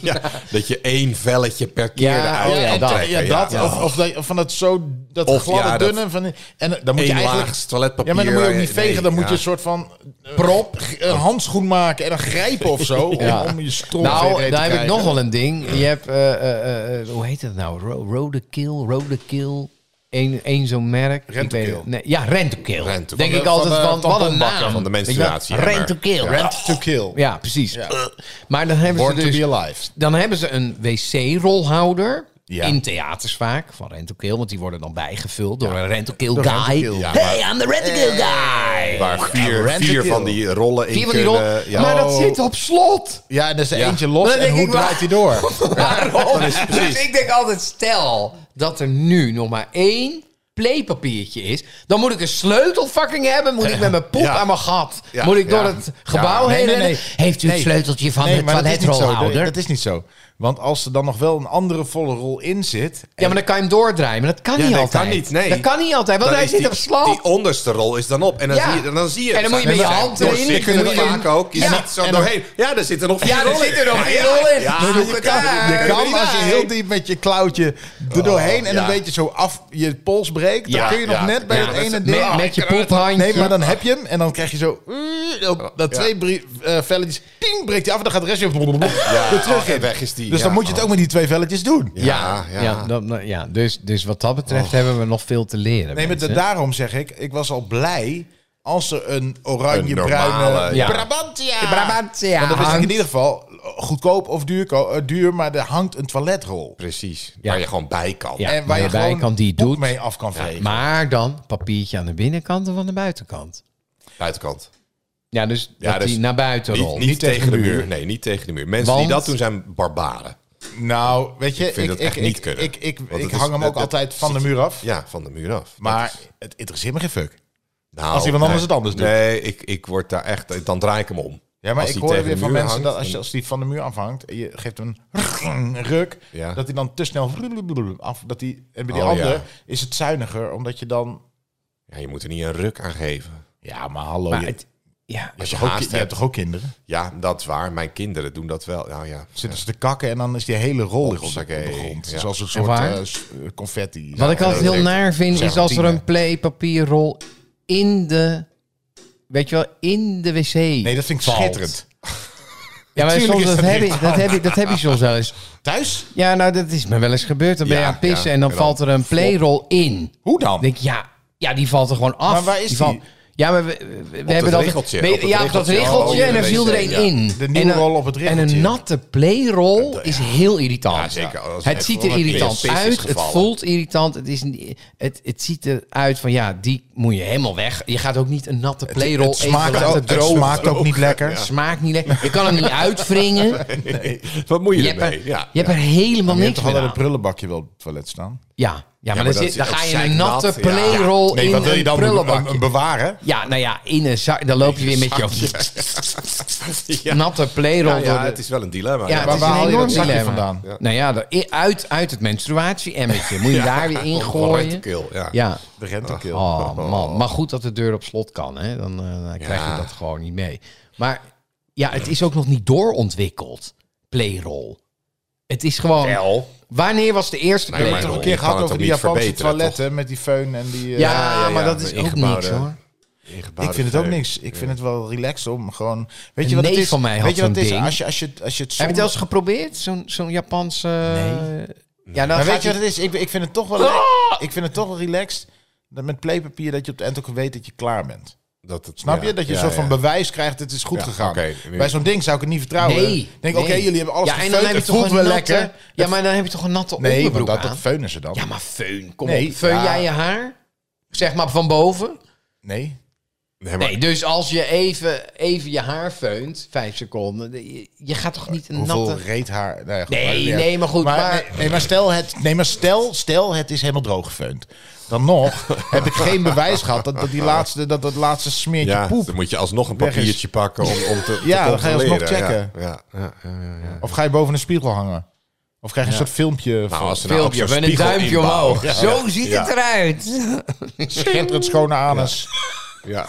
S2: Ja, dat je één velletje per keer
S3: Ja,
S2: eruit
S3: oh ja,
S2: kan
S3: dat.
S2: trekken.
S1: Ja, dat. Of, of, dat- van dat zo dat
S2: Of
S1: gladde
S2: ja, dat-
S1: dunne. Van, die- en dan moet je
S2: Eén
S1: eigenlijk...
S2: laag toiletpapier.
S1: ja, maar dan moet je ook niet
S2: Nee,
S1: vegen. dan moet
S2: ja.
S1: je een soort van eh, prop, g- een handschoen maken en dan grijpen of zo. om-
S3: Ja.
S1: Om, je stront
S3: Nou,
S1: weer
S3: daar heb ik nog
S1: een
S3: wel een ding. Je hebt, eh, eh, eh, hoe heet dat nou? Ro rode kill, rode kill. Eén één zo'n merk. Ik
S1: Rentekill.
S3: weet het- Nee, ja, rentekill.
S2: Rentekill.
S3: Denk
S2: Van
S3: ik
S1: de-
S3: altijd
S1: van de
S3: van, wat een
S1: tamponbakken,
S3: naam.
S2: van de
S3: Weet je
S2: menstruatie,
S3: wel?
S2: ja, maar-
S3: Rentekill.
S2: Ja.
S3: Rent-
S1: Rent to kill.
S3: Ja, precies. Maar dan hebben
S1: Born
S3: ze
S1: to
S3: dus...
S1: be alive.
S3: Dan hebben ze een wc-rolhouder.
S1: Ja.
S3: In theaters vaak, van Rental Kill. Want die worden dan bijgevuld door een Rental Kill
S1: Door Rental
S3: guy.
S1: Kill. Ja,
S3: hey, I'm the Rental Kill guy!
S2: Waar vier,
S1: Rent a
S2: vier
S1: Kill.
S2: van die rollen in
S3: Vier van die
S2: kunnen-
S3: rollen.
S2: Ja.
S3: Maar dat
S1: Oh.
S3: zit op slot!
S1: Ja, en er is er
S2: Ja.
S1: eentje los
S3: Maar dan
S1: en hoe
S3: denk ik,
S1: draait hij door?
S3: Waarom?
S2: is het precies.
S3: Dus ik denk altijd, stel dat er nu nog maar één playpapiertje is, dan moet ik een sleutel fucking hebben, moet ik met mijn poep
S2: Ja.
S3: aan mijn gat,
S2: Ja.
S3: moet ik door
S2: Ja.
S3: het gebouw
S1: nee,
S3: heen
S1: nee, nee.
S3: rennen. Heeft u het
S1: Nee.
S3: sleuteltje van
S1: Nee,
S3: het
S1: maar dat is niet zo. Dat-
S3: toiletrolhouder?
S1: Dat is niet zo. Want als er dan nog wel een andere volle rol in zit...
S3: Ja, maar dan kan je hem doordraaien, maar dat kan
S2: Ja,
S3: niet
S2: dat
S3: altijd.
S2: kan niet, nee.
S3: Dat kan niet altijd, want
S2: Dan
S3: hij
S2: is
S3: zit
S2: die-
S3: op slot.
S2: Die onderste rol is dan op. En dan,
S3: Ja.
S2: zie, je, dan zie je
S3: En dan moet je met je
S2: Ze zijn
S3: hand erin,
S2: doorzichtig
S3: dan kun je
S2: vaak
S3: erin.
S2: ook. Je
S3: Ja.
S2: ziet zo
S1: En dan-
S2: doorheen. Ja, er zitten nog vier
S3: ja, er
S2: rollen
S3: zitten er nog
S2: Ja,
S3: geen
S2: ja,
S3: rollen in.
S2: ja.
S3: Zoek het uit.
S1: Ah, Je kan Oh, als je
S3: Ja.
S1: heel diep met je klauwtje er doorheen en
S2: ja.
S1: een beetje zo af je pols breekt, dan
S2: Ja,
S1: kun je nog
S2: ja,
S1: net bij
S2: ja.
S1: het
S2: Dat is-
S1: ene
S2: met-
S1: ding.
S3: Met, met je poephandje.
S1: Nee, maar dan heb je hem en dan krijg je zo uh, op dat
S2: Ja.
S1: twee brie- eh, velletjes, ting, breekt hij af en dan gaat de restje
S2: Ja,
S1: weer terug
S2: oh,
S1: in.
S2: weg is die.
S1: Dus
S2: ja.
S1: dan moet je het ook met die twee velletjes doen.
S3: Ja, ja,
S2: Ja, ja.
S3: dat- nou, ja, dus, dus wat dat betreft hebben we nog veel te leren.
S1: Nee, maar
S3: mensen.
S1: da- daarom zeg ik, ik was al blij als er een
S2: normale,
S1: oranje-bruine
S3: ja.
S1: Brabantia.
S3: Brabantia
S1: Want dan wist ik in
S3: hangt.
S1: ieder geval goedkoop of duur, ko- eh, duur, maar er hangt een toiletrol.
S2: Precies.
S3: Ja.
S2: Waar je gewoon bij kan.
S3: Ja.
S1: En waar je
S3: waarbij
S1: gewoon
S3: kan die
S1: poep
S3: doet.
S1: mee af kan vegen.
S3: maar dan papiertje aan de binnenkant en van de buitenkant.
S2: Buitenkant.
S3: Ja, dus
S2: Ja,
S3: dat
S2: dus
S3: die naar buiten
S2: Niet,
S3: rolt.
S2: niet tegen de muur. Nee, niet tegen de muur. Mensen die
S3: Want-
S2: dat doen zijn barbaren.
S1: Nou, weet je, ik,
S2: Ik vind
S1: ik,
S2: dat
S1: ik,
S2: echt niet kunnen.
S1: ik, ik,
S2: Want
S1: ik
S2: het is-
S1: hang hem
S2: het-
S1: ook
S2: het-
S1: altijd van de muur af.
S2: Ja, van de muur af.
S1: Maar
S2: Dat is-
S1: het interesseert me geen fuck.
S2: nou,
S1: als iemand anders
S2: nee.
S1: het anders doet.
S2: Nee, ik, ik word daar echt... Dan draai ik hem om.
S1: Ja, maar
S2: Als
S1: ik
S2: die
S1: hoor
S2: tegen
S1: weer
S2: de
S1: van
S2: muur
S1: mensen
S2: hangt,
S1: dat als, je, als die van de muur afhangt, en je geeft hem een ruk,
S2: Ja.
S1: dat hij dan te snel af. Dat die, en bij die
S2: Oh,
S1: andere
S2: ja.
S1: is het zuiniger, omdat je dan...
S2: Ja, je moet er niet een ruk aan geven.
S1: Ja, maar hallo,
S3: Maar
S1: je,
S3: het- ja,
S1: je,
S2: je
S1: hebt toch ook,
S2: haast
S1: ki- je hebt
S2: hebt.
S1: toch ook kinderen?
S2: Ja, dat is waar. Mijn kinderen doen dat wel. Nou ja.
S1: Zitten ze te kakken en dan is die hele rol ligt op de
S2: Hopsakee.
S1: grond.
S2: Ja.
S1: Zoals een
S3: En
S1: soort
S3: waar?
S1: eh, s- eh, confetti.
S3: Wat ik altijd
S2: dat
S3: heel
S2: weet
S3: naar vind, is als er
S1: Serpentine.
S3: een playpapierrol in de... Weet je wel, in de wc
S1: Nee, dat vind ik
S3: valt.
S1: schitterend.
S3: Ja, maar
S1: Tuurlijk
S3: soms,
S1: is
S3: dat,
S1: dat
S3: heb
S1: niet
S3: ik, dat, heb ik, dat heb je soms wel eens.
S1: Thuis?
S3: Ja, nou, dat is me wel eens gebeurd. Dan ben je
S2: Ja,
S3: aan het pissen
S2: ja,
S3: en dan
S2: en dan
S3: valt er een playrol in.
S1: Hoe dan?
S3: Ik denk, ja, ja, die valt er gewoon af.
S1: Maar waar is
S3: valt-
S1: die?
S3: Ja, maar we, we- we hebben
S2: het
S3: dat...
S2: riggeltje,
S3: we-
S2: op het
S3: ja, op dat
S2: riggeltje.
S3: riggeltje
S2: Oh,
S3: en er
S2: de
S3: viel er
S2: wc,
S3: een
S2: ja.
S3: in.
S1: De nieuwe
S3: En een-
S1: rol op het
S3: En
S1: riggeltje.
S3: een natte playrol is heel irritant.
S2: Ja, zeker. Als
S3: het
S2: het
S3: ziet er
S2: gewoon een
S3: irritant
S2: pis is
S3: uit. Het
S2: gevallen.
S3: voelt irritant. Het, is, niet- het, het ziet eruit van, ja, die moet je helemaal weg. Je gaat ook niet een natte playrol
S1: Het smaakt,
S3: even
S1: ook,
S3: laten
S1: het
S3: drogen.
S1: smaakt ook niet lekker.
S3: Het smaakt niet lekker. Je kan hem niet uitwringen.
S2: Wat moet je,
S3: Je hebt
S2: ermee?
S3: er,
S2: ja.
S3: je hebt er helemaal
S1: Je hebt
S3: niks
S1: toch altijd
S3: van.
S1: een prullenbakje wel op het toilet staan?
S3: Ja, ja, maar,
S2: maar
S3: dan,
S2: dat
S3: zit, dan
S2: is
S3: ga
S2: ook
S3: je een
S2: zeiknat,
S3: natte
S2: ja.
S3: playrol
S1: Nee,
S3: in
S1: wat wil je
S3: een
S1: dan
S3: prullenbakje.
S1: be- bewaren?
S3: Ja, nou ja, in een zak. Dan loop je weer met je
S2: Ja.
S3: natte playrol
S2: Ja, ja,
S3: door de-
S2: het is wel een dilemma. Ja,
S3: Ja, het
S1: waar
S3: is een
S1: haal je
S3: enorm
S1: dat zakje
S3: dilemma.
S1: vandaan?
S2: Ja.
S3: Nou ja, de- uit, uit het menstruatie-emmetje. Moet je daar weer in gooien.
S2: Rentekil, ja.
S3: Ja.
S1: De rentekill.
S3: Oh man, maar goed dat de deur op slot kan. Hè? Dan, eh, dan krijg je
S2: Ja.
S3: dat gewoon niet mee. Maar ja, het is ook nog niet doorontwikkeld. Playrol. Het is gewoon...
S2: Wel.
S3: Wanneer was de eerste
S2: Nee, maar
S1: Toch
S3: playrol?
S1: een
S2: Je
S1: keer
S2: kan
S1: gehad
S2: het
S1: over
S2: toch
S1: die
S2: niet
S1: Japanse
S2: verbeteren,
S1: toiletten met die föhn en die... eh,
S3: Ja,
S2: ja, ja,
S3: maar dat is
S2: maar
S3: ook
S2: ingebouwde-
S3: niks hoor.
S1: Ik vind het ook niks. Ik vind het wel relaxed om gewoon... Weet je
S3: Een
S1: wat het
S3: neef
S1: is?
S3: van mij had
S1: Weet je wat
S3: zo'n
S1: het is?
S3: ding.
S1: Als je, als je, als je het
S3: Heb je
S1: zondag-
S3: het wel eens geprobeerd? Zo'n zo'n Japanse... Nee. Ja, dan
S1: Maar
S3: gaat Ah!
S1: weet je
S3: die-
S1: wat het is? Ik, ik vind het toch wel... Ik vind het toch wel relaxed dat met playpapier dat je op het eind ook weet dat je klaar bent.
S2: Dat het,
S1: Snap
S2: ja,
S1: je? Dat je
S2: ja,
S1: een soort van
S2: ja.
S1: bewijs krijgt, het is goed
S2: Ja,
S1: gegaan.
S2: oké, nu-
S1: Bij zo'n ding zou ik het niet vertrouwen.
S3: Nee.
S1: Denk,
S3: nee.
S1: oké, jullie hebben alles
S3: ja, en dan
S1: gefeund,
S3: heb je
S1: het
S3: toch
S1: voelt
S3: een
S1: wel
S3: natte-
S1: lekker.
S3: Ja, maar dan heb je toch een natte
S1: Nee, want
S3: onderbroek
S1: dat,
S3: aan.
S1: dat feunen ze dan.
S3: Ja, maar feun, kom
S1: Nee,
S3: op. Feun
S1: ja.
S3: jij je haar? Zeg maar van boven?
S1: Nee.
S2: Nee, maar
S3: Nee, dus als je even, even je haar feunt, vijf seconden, de- je, je gaat toch niet een
S1: Hoeveel
S3: natte...
S1: reet haar? Nee, goed,
S3: Nee,
S1: maakt niet
S3: nee,
S1: uit.
S3: maar goed, maar-
S1: nee, nee, maar stel het, nee, maar stel, stel het is helemaal droog gefeund. Dan nog heb ik geen bewijs gehad dat, dat die laatste, dat, dat laatste smeertje
S2: ja,
S1: poep.
S2: dan moet je alsnog een
S1: Weg is.
S2: papiertje pakken om, om te, te
S1: Ja, dan ga je alsnog
S2: controleren.
S1: checken.
S2: Ja, ja, ja, ja, ja, ja.
S1: Of ga je boven een spiegel hangen? Of krijg je een soort filmpje van
S2: Nou, als er nou ook
S3: Filmpje,
S2: zo'n
S3: met een
S2: spiegel
S3: duimpje
S2: inbouwen.
S3: omhoog.
S2: Ja.
S3: Zo ziet
S2: Ja.
S3: het eruit.
S1: schitterend schone anus.
S2: Ja.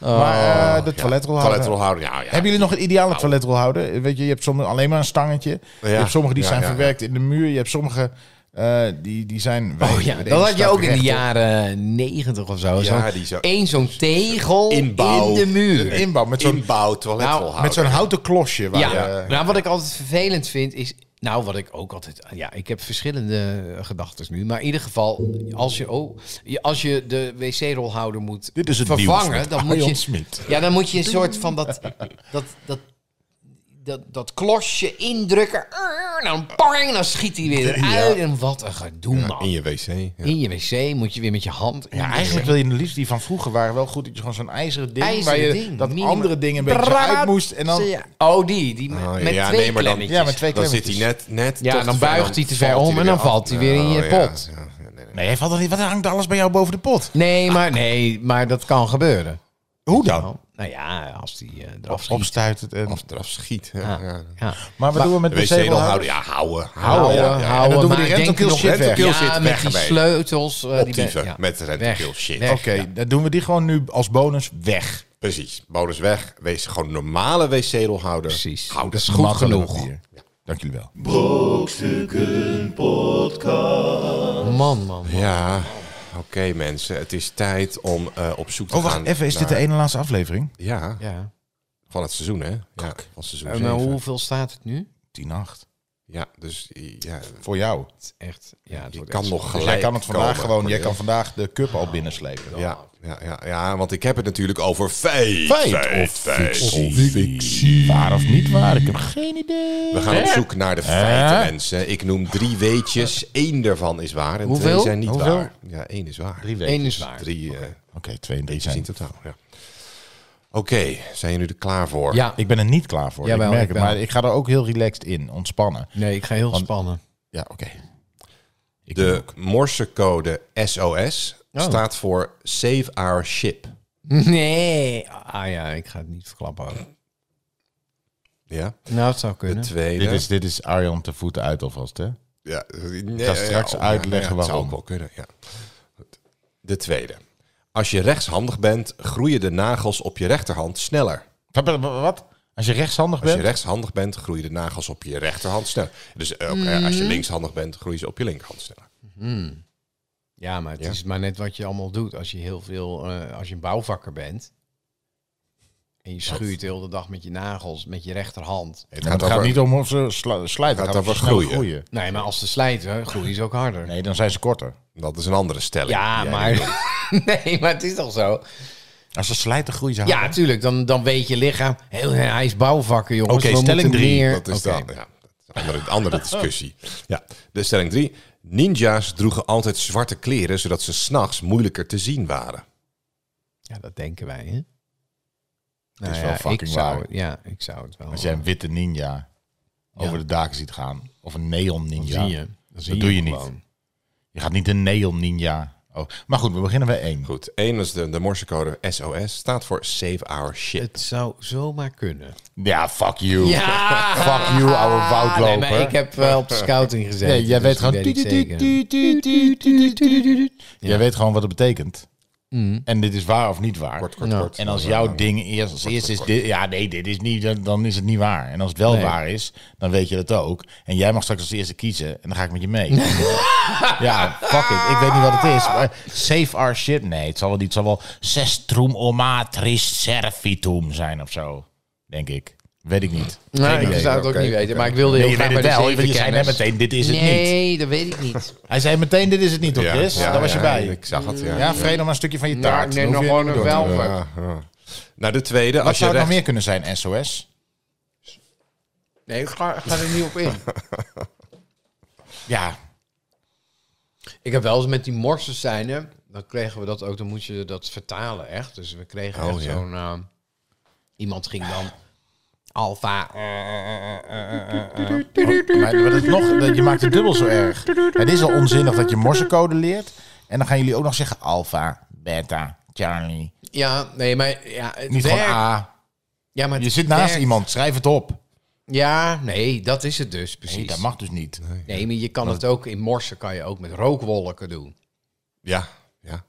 S1: Maar eh de toiletrol houden.
S2: Oh, Toiletrolhouder, ja, ja.
S1: Hebben jullie nog een ideale toiletrol houden? Weet je, je hebt sommige alleen maar een stangetje. Je hebt sommige die
S2: Ja,
S1: zijn
S2: ja, ja.
S1: verwerkt in de muur. Je hebt sommige eh, die, die zijn...
S3: Oh ja,
S1: de
S3: dat
S1: ene
S3: had je
S1: staat
S3: ook in de
S1: rechtop.
S3: jaren negentig of zo.
S2: Ja,
S3: Zo'n-
S2: die zo-
S3: Eén zo'n tegel
S2: Inbouw.
S3: in de muur.
S1: Een inbouw met zo'n
S2: Inbouw toiletrolhouder.
S3: Nou,
S1: met zo'n houten klosje. Waar
S3: Ja,
S1: je-
S3: nou wat ik altijd vervelend vind is... Nou, wat ik ook altijd... Ja, ik heb verschillende gedachten nu. Maar in ieder geval, als je, oh, je- als je de wc-rolhouder moet
S1: Dit is het nieuws
S3: vervangen...
S1: met
S3: Dan moet,
S1: Arjan
S3: je,
S1: Smit.
S3: ja, dan moet je een soort van dat, dat, dat, dat, dat klosje indrukken. dan bang, dan schiet hij weer eruit. En wat een gedoe, man.
S2: In je wc. Ja.
S3: In je wc moet je weer met je hand.
S1: Ja, eigenlijk wil je het liefst die van vroeger waren wel goed dat je gewoon zo'n ijzeren ding
S3: IJzeren
S1: waar je
S3: ding,
S1: dat
S3: minimaal.
S1: andere ding een beetje uit moest en dan Ah, ja,
S3: Oh, die. die
S2: Oh,
S3: met
S2: ja,
S3: twee
S2: nee, maar dan-
S3: klemmetjes.
S1: met twee
S2: Dan
S1: klemmetjes.
S2: zit hij net, net
S3: Ja,
S2: toch te
S3: dan
S2: ver,
S3: buigt hij te ver
S2: valt
S3: om
S2: hij
S3: en
S2: er
S3: dan valt hij weer in je
S2: Oh, ja,
S3: pot.
S2: ja, ja, nee, nee.
S1: Nee, hij valt er niet. Wat hangt alles bij jou boven de pot?
S3: Nee, maar, nee, maar dat kan gebeuren.
S1: Hoe dan?
S3: Oh, nou ja, als die eh, eraf
S1: Of
S3: schiet.
S1: opstuit het en.
S2: Of eraf schiet. Ja,
S3: Ja,
S2: ja.
S3: ja.
S1: Maar wat doen we met
S2: De
S1: de
S2: wc
S1: zetel
S2: dan
S1: houden?
S2: houden. Ja, houden.
S1: Houden,
S2: Houden, ja. ja.
S1: En dan doen we
S3: maar
S1: die
S3: ik denk
S1: rentokil
S3: nog-
S1: shit weg.
S2: Rentokil shit
S3: Ja,
S2: weg
S3: met die
S2: ermee.
S3: sleutels. eh, die
S2: Optieven
S3: ben- ja.
S2: met rentokil
S3: Weg,
S2: shit.
S3: weg.
S1: Oké, dan doen we die gewoon nu als bonus weg.
S2: Precies. Bonus weg. Wees gewoon normale wc-rolhouder.
S3: Precies.
S2: Houd
S3: Dat
S2: het
S3: is goed
S1: Makkelijk
S3: genoeg.
S1: hier. Dank jullie wel.
S2: eh,
S3: Man, man.
S2: Ja, oké mensen. Het is tijd om eh, op zoek te
S1: Oh,
S2: gaan
S1: wacht even. Is dit de
S2: naar-
S1: ene laatste aflevering?
S2: Ja,
S3: e- Ja.
S2: van het seizoen hè? Ja, van seizoen
S3: En eh,
S2: zeven.
S3: hoeveel staat het nu?
S1: 10-8.
S2: Ja, dus ja,
S1: Voor jou.
S3: Het is echt. Ja, het
S2: je
S3: wordt
S2: kan
S3: echt
S2: nog
S1: Dus
S2: gelijk
S1: jij kan het vandaag
S2: komen.
S1: gewoon. Jij kan vandaag de cup al binnenslepen. dan.
S2: Ja, ja, ja, ja, want ik heb het natuurlijk over feit.
S1: Feit
S2: feit,
S1: of
S2: feit
S1: fictie.
S2: of fictie.
S1: Waar of niet waar? Ik heb geen idee.
S2: We gaan op zoek naar de feiten, mensen. Ik noem drie weetjes. Eén daarvan is waar en
S3: Hoeveel?
S2: twee zijn niet
S1: Hoeveel?
S2: waar. Ja, één is waar.
S1: Drie
S3: Eén
S1: weken.
S3: is waar.
S2: Drie eh,
S1: Oké, twee en drie
S2: is in
S1: zijn.
S2: totaal, ja. Oké, zijn jullie er klaar voor?
S3: Ja.
S1: Ik ben er niet klaar voor.
S3: Jawel,
S1: ik merk
S3: ik
S1: het.
S3: wel.
S1: Maar ik ga er ook heel relaxed in. Ontspannen.
S3: Nee, ik ga heel spannen.
S1: Ja, oké. Ik
S2: De morsecode SOS
S3: Oh.
S2: staat voor Save Our Ship.
S3: Nee. Ah ja, ik ga het niet verklappen. ook.
S2: Ja,
S3: Nou, het zou
S2: de
S3: kunnen.
S2: tweede.
S1: Dit is, dit is Arjan te voeten uit alvast, hè?
S2: Ja, nee,
S1: ga straks
S2: ja,
S1: uitleggen
S2: ja, het zou
S1: waarom.
S2: ook wel kunnen, ja. Goed. De tweede. Als je rechtshandig bent, groeien de nagels op je rechterhand sneller.
S1: Wat- wat- Wat? Als je rechtshandig
S2: Als je
S1: bent?
S2: rechtshandig bent, groeien de nagels op je rechterhand sneller. Dus eh, ook, eh,
S3: Mm-hmm.
S2: als je linkshandig bent, groeien ze op je linkerhand sneller.
S3: Ja, maar het
S2: Ja.
S3: is maar net wat je allemaal doet. Als je heel veel, eh, als je een bouwvakker bent. En je schuurt heel de dag met je nagels, met je rechterhand.
S1: Nee, maar het gaat niet om of ze sla- slijten. Het
S2: gaat
S1: gaat over
S2: over
S1: snel groeien.
S2: groeien.
S3: Nee, maar als ze slijten, groeien ze ook harder.
S1: Nee, dan zijn ze korter.
S2: Dat is een andere stelling.
S3: Ja,
S2: die jij
S3: maar.
S2: nu
S3: nee, maar het is toch zo?
S1: Als ze slijten, groeien ze
S3: Ja,
S1: harder.
S3: natuurlijk. Dan, dan weet je lichaam. Heel, hij is bouwvakker, jongens.
S1: Oké,
S3: dus We
S1: stelling
S3: moeten
S1: drie.
S3: meer-
S2: Dat is
S3: Oké.
S2: dan, ja, dat is een andere, andere discussie. Ja, de stelling 3. Ninja's droegen altijd zwarte kleren, zodat ze s'nachts moeilijker te zien waren.
S3: Ja, dat denken wij, hè? Nou
S1: Het is wel
S3: ik
S1: fucking
S3: zou,
S1: waar.
S3: Ja, ik zou het wel.
S1: Als jij een witte ninja over de daken ziet gaan. Of een neon
S3: dan
S1: ninja.
S3: zie je.
S1: Je.
S3: Dan zie
S1: doe je niet.
S3: gewoon.
S1: gaat niet een neon ninja. Oh. Maar goed, we beginnen bij één.
S2: Goed, één is de, de morsecode SOS, staat voor Save Our Shit.
S3: Het zou zomaar kunnen.
S1: Ja, fuck you.
S3: Ja! Ah,
S1: Fuck you, oude woudloper.
S3: Nee, maar ik heb wel op de scouting gezeten.
S1: Nee, jij
S3: dus
S1: weet
S3: dat
S1: gewoon...
S3: ik zeker.
S1: Jij weet gewoon wat het betekent. En dit is waar of niet waar.
S2: kort,
S3: Nou.
S2: kort.
S1: En als jouw ding eerst als eerste is dit, ja nee, dit is niet, dan- dan is het niet waar. En als het wel
S3: Nee.
S1: waar is, dan weet je dat ook. En jij mag straks als eerste kiezen en dan ga ik met je mee. ja, fuck it. Ik weet niet wat het is. Maar save our shit, nee. Het zal wel niet, het zal wel sestrum omatris servitum zijn of zo, denk ik. Weet ik niet.
S3: Nou,
S1: Geen
S3: ik
S1: idee.
S3: zou het ook
S2: Oké,
S3: niet
S2: oké.
S3: weten, maar ik wilde
S1: Nee,
S3: heel
S1: je
S3: graag
S1: weet
S3: bij
S1: het
S3: de
S1: wel, want je zei net
S3: zevenkennis.
S1: meteen, dit is het niet.
S3: Nee, dat weet ik niet.
S1: Hij zei meteen, dit is het niet, toch
S2: Ja,
S1: Chris?
S2: ja,
S1: Daar was je
S2: ja,
S1: bij.
S2: ik zag het, ja. Nou,
S1: Ja, vrede maar een stukje van je taart. Dan
S3: nee,
S1: hoef
S3: nog
S1: je
S3: gewoon
S1: niet
S3: een
S1: door te-
S3: welver.
S2: Ja, ja. Nou, de tweede,
S1: Wat
S2: als je
S1: zou het nog
S2: recht...
S1: meer kunnen zijn, SOS?
S3: Nee, ik ga, ga er niet op in.
S1: Ja,
S3: Ik heb wel eens met die morsensijnen, dan kregen we dat ook, dan moet je dat vertalen echt. Dus we kregen
S2: Oh,
S3: echt
S2: ja.
S3: zo'n, eh, iemand ging dan alfa.
S1: Maar, maar dat is nog, dat- je maakt het dubbel zo erg. Het is al onzinnig dat je morsecode leert. En dan gaan jullie ook nog zeggen alfa, beta, Charlie.
S3: Ja, nee, maar ja, het
S1: Niet
S3: werkt.
S1: gewoon A.
S3: Ja, maar
S1: Je
S3: het
S1: zit naast
S3: werkt.
S1: iemand, schrijf het op.
S3: Ja, nee, dat is het dus precies.
S1: Nee, dat mag dus niet.
S3: Nee, maar je kan het ook in morsen, kan je ook met rookwolken doen.
S2: Ja, ja.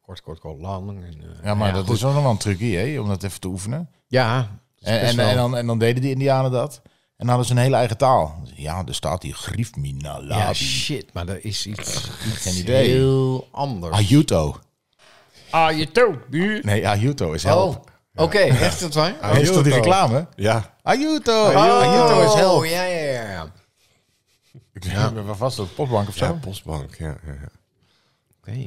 S3: Kort, kort, kort, lang. En, eh,
S1: Ja, maar
S3: ja,
S1: dat
S3: goed.
S1: is ook nog wel een trucje, hè, om dat even te oefenen.
S3: Ja. dat is
S1: En,
S3: best
S1: en,
S3: wel-
S1: en, dan, en dan deden die indianen dat. En dan hadden ze een hele eigen taal. Ja, er staat hier griefmina
S3: ja,
S1: labi.
S3: shit, maar er is iets, iets
S1: Ah, idee.
S3: heel anders.
S1: Ajuto.
S3: Ah, je toe.
S1: Nee, Ajuto is
S3: Oh,
S1: help.
S3: oké, echt dat waar? Oh,
S1: Is dat die reclame?
S2: Ja,
S1: Ajuto. Ajuto is help.
S3: ja, ja, ja. Oké.
S1: Ik weet niet, waar was dat? Postbank of zo?
S2: ja postbank. Ja, ja, ja.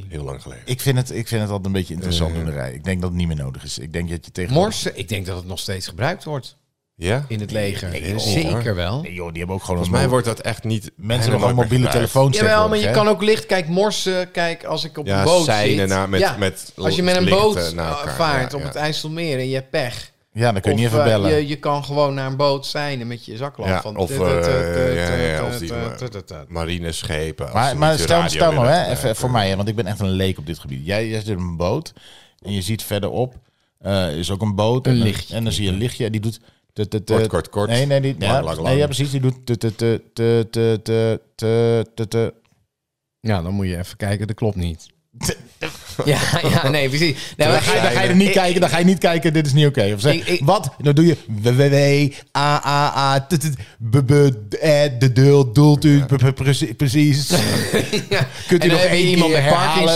S2: Heel lang geleden.
S1: Ik vind, het, ik vind het altijd een
S2: Eh.
S1: beetje interessant in de rij. Ik denk dat het niet meer nodig is. Ik denk dat je tegen...
S3: Morsen, ik denk dat het nog steeds gebruikt wordt.
S2: Ja?
S3: in het leger.
S1: joh,
S3: Zeker wel.
S1: Nee, joh, die hebben ook gewoon
S2: Volgens mij
S1: mo-
S2: wordt dat echt niet...
S1: mensen hebben
S2: helemaal
S1: gewoon mobiele
S2: gebruikt.
S1: telefoons
S3: Jawel, maar je
S1: tegenwoordig,
S3: kan ook licht, kijk, morsen, kijk, als ik op
S2: Ja,
S3: een boot
S2: zeilen
S3: zit.
S2: naar- met-
S3: Ja,
S2: met
S3: als je met een
S2: lichten
S3: boot
S2: naar elkaar,
S3: eh, vaart
S2: ja,
S3: op
S2: ja.
S3: het IJsselmeer en je hebt pech.
S1: hè? Ja, dan kun je
S3: of,
S1: niet even
S3: eh,
S1: bellen.
S3: je, je kan gewoon naar een boot zijn met je zaklamp.
S2: Ja,
S3: van
S2: of,
S3: tut, tut, tut,
S2: eh, ja, ja,
S3: tut,
S2: of die-
S3: tut, tut, tut, tut.
S2: Marineschepen. als ze
S1: Maar, maar
S2: niet de
S1: stel,
S2: radio eh,
S1: stel nou,
S2: willen
S1: hè, even
S2: gebruiken.
S1: voor mij, hè, want ik ben echt een leek op dit gebied. Jij, jij zit op een boot en je ziet verderop eh, is ook een boot. en,
S3: lichtje.
S1: En dan zie je een lichtje en die doet... tut, tut,
S2: Kort,
S1: tut.
S2: kort, kort.
S1: Nee, nee, die,
S2: Lang,
S1: ja,
S2: lang,
S1: nee,
S2: lang.
S1: ja, precies. Die doet... tut, tut, tut, tut, tut, tut, tut, tut, tut.
S3: Ja, dan moet je even kijken, dat klopt niet. ja, ja, nee, precies. Nee,
S1: Dan
S3: maar
S1: ga, je, dan ga je er niet
S3: Ik-
S1: kijken, dan ga je niet kijken, dit is niet oké. Of zeg,
S3: Ik- ik-
S1: wat? Dan doe je www, a, a, a, tut, tut, b, b, eh, de deel, doelt u, p, p, precie- precies.
S3: Ja.
S1: Kunt u
S3: En dan
S1: nog
S3: heb je
S1: één
S3: iemand
S1: keer
S3: met
S1: herhalen?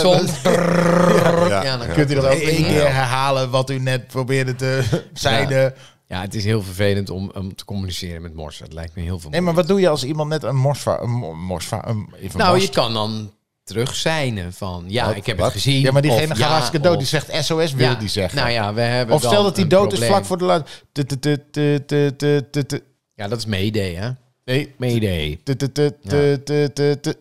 S3: Parkinson.
S2: Ja,
S3: Ja, dan
S2: ja.
S1: Kunt u nog
S3: dat ook
S1: één
S3: niet?
S1: keer herhalen wat u net probeerde te zeiden?
S3: Ja, het is heel vervelend om, om te communiceren met morsen. Het lijkt me heel veel
S1: Nee, maar wat doe je als iemand net een morsva... Een mo- morsva een, even
S3: Nou,
S1: morst?
S3: je kan dan terugzijnen van, ja, ik heb
S2: Wat?
S3: het gezien.
S1: Ja, maar diegene
S3: of
S1: gaat
S3: ja,
S1: hartstikke dood.
S3: of-
S1: Die zegt SOS, wil
S3: ja,
S1: die zeggen.
S3: Nou ja, we hebben
S1: of stel
S3: dan
S1: dat hij
S3: een
S1: dood is
S3: probleem.
S1: vlak voor de laat. Tut, tut, tut, tut, tut, tut, tut, tut.
S3: Ja, dat is meedee, hè?
S1: Nee.
S3: Meedee.
S1: Tut, tut, tut, tut, tut, tut, tut.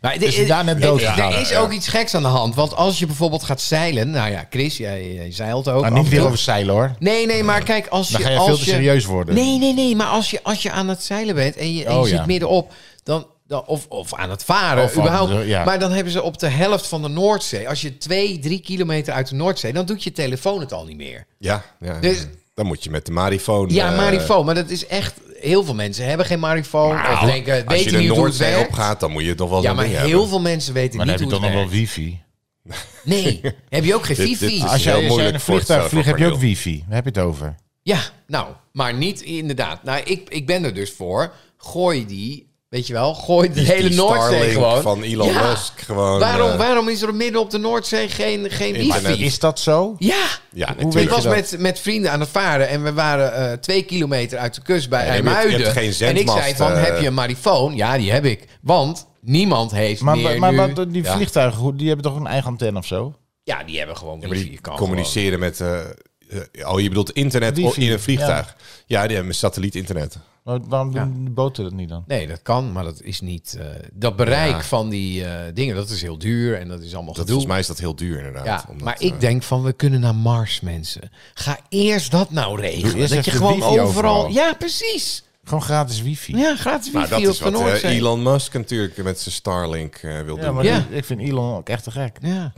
S3: Maar
S1: Is hij daar net dood gegaan?
S3: Er is ook iets geks aan de hand. Want als je bijvoorbeeld gaat zeilen... Nou ja, Chris, jij, jij zeilt
S1: Maar
S3: ook. af
S1: Nou, niet
S3: en
S1: veel
S3: toe.
S1: over zeilen, hoor.
S3: Nee, nee, maar kijk, als je...
S1: Dan ga je
S3: als
S1: veel te serieus worden.
S3: Nee, nee, nee, maar als je, als je aan het zeilen bent en je, en je
S1: Oh,
S3: zit
S1: ja.
S3: middenop... Dan, dan, of, of aan het varen,
S1: Of aan
S3: überhaupt.
S1: de- ja.
S3: Maar dan hebben ze op de helft van de Noordzee... Als je twee, drie kilometer uit de Noordzee... Dan doet je telefoon het al niet meer.
S2: Ja, ja, ja.
S3: Dus-
S2: dan moet je met de marifoon...
S3: Ja,
S2: eh,
S3: marifoon. Maar dat is echt... Heel veel mensen hebben geen marifoon.
S2: nou,
S3: of denken,
S2: als
S3: weet
S2: je
S3: je
S2: de
S3: niet hoe het
S2: Noordzee
S3: werkt?
S2: opgaat, dan moet je het nog wel
S3: Ja,
S2: zo'n
S3: maar
S2: ding
S3: heel
S2: hebben.
S3: veel mensen weten
S1: Maar dan
S3: niet
S1: heb je
S3: hoe
S1: toch nog
S3: het
S1: wel
S3: werkt.
S1: wifi?
S3: Nee, heb je ook geen
S2: Dit-
S3: wifi?
S2: dit is
S1: Als jij als jij
S2: heel
S1: in een
S2: moeilijk voor
S1: vliegtuig
S2: het
S1: vliegt, heb je ook
S2: zelfverbeeld.
S1: wifi. Daar heb je het over.
S3: Ja, nou, maar niet inderdaad. Nou, ik, ik ben er dus voor. Gooi die, weet je wel, gooi de
S2: Die-
S3: hele
S2: die
S3: Noordzee
S2: Starlink
S3: gewoon.
S2: van Elon
S3: Ja.
S2: Musk gewoon...
S3: Waarom,
S2: eh,
S3: waarom is er midden op de Noordzee geen, geen
S2: Internet.
S1: Maar
S3: wifi?
S1: is dat zo?
S3: Ja,
S2: Ja,
S1: weet
S3: ik
S1: je
S2: natuurlijk.
S3: was
S1: dat?
S3: met, met vrienden aan het varen en we waren eh, twee kilometer uit de kust bij
S2: En heb je- je
S3: IJmuiden.
S2: hebt geen
S3: en ik
S2: zendmast,
S3: zei van,
S2: eh.
S3: heb je een marifoon? Ja, die heb ik. Want niemand heeft
S1: Maar,
S3: meer
S1: maar, maar,
S3: nu...
S1: wat- die
S2: Ja.
S1: vliegtuigen, hoe- die hebben toch een eigen antenne of zo?
S3: ja, die hebben gewoon
S2: Ja,
S3: wifi.
S2: maar
S3: Je
S2: die
S3: kan
S2: communiceren met... eh, eh, oh, je bedoelt internet
S1: Wifi,
S2: in een vliegtuig. Ja, die hebben satellietinternet.
S1: Maar waarom
S3: Ja.
S1: doen de boten dat niet dan?
S3: Nee, dat kan, maar dat is niet... eh, dat bereik
S2: Ja.
S3: van die eh, dingen, dat is heel duur en dat is allemaal
S2: Dat,
S3: gedoe.
S2: volgens mij is dat heel duur inderdaad.
S3: Ja,
S2: omdat,
S3: maar
S2: eh,
S3: ik denk van, we kunnen naar Mars, mensen. Ga eerst dat nou
S1: Doe
S3: regelen.
S1: eerst
S3: Dat je
S1: even
S3: gewoon
S1: wifi
S3: overal...
S1: overal.
S3: Ja, precies.
S1: Gewoon gratis wifi.
S3: Ja, gratis
S2: maar
S3: wifi
S2: dat is
S3: op de
S2: wat eh,
S3: Noordzee.
S2: Elon Musk natuurlijk met zijn Starlink eh, wil
S1: Ja,
S2: doen.
S1: maar
S3: Ja.
S1: die- ik vind Elon ook echt te gek.
S3: Ja.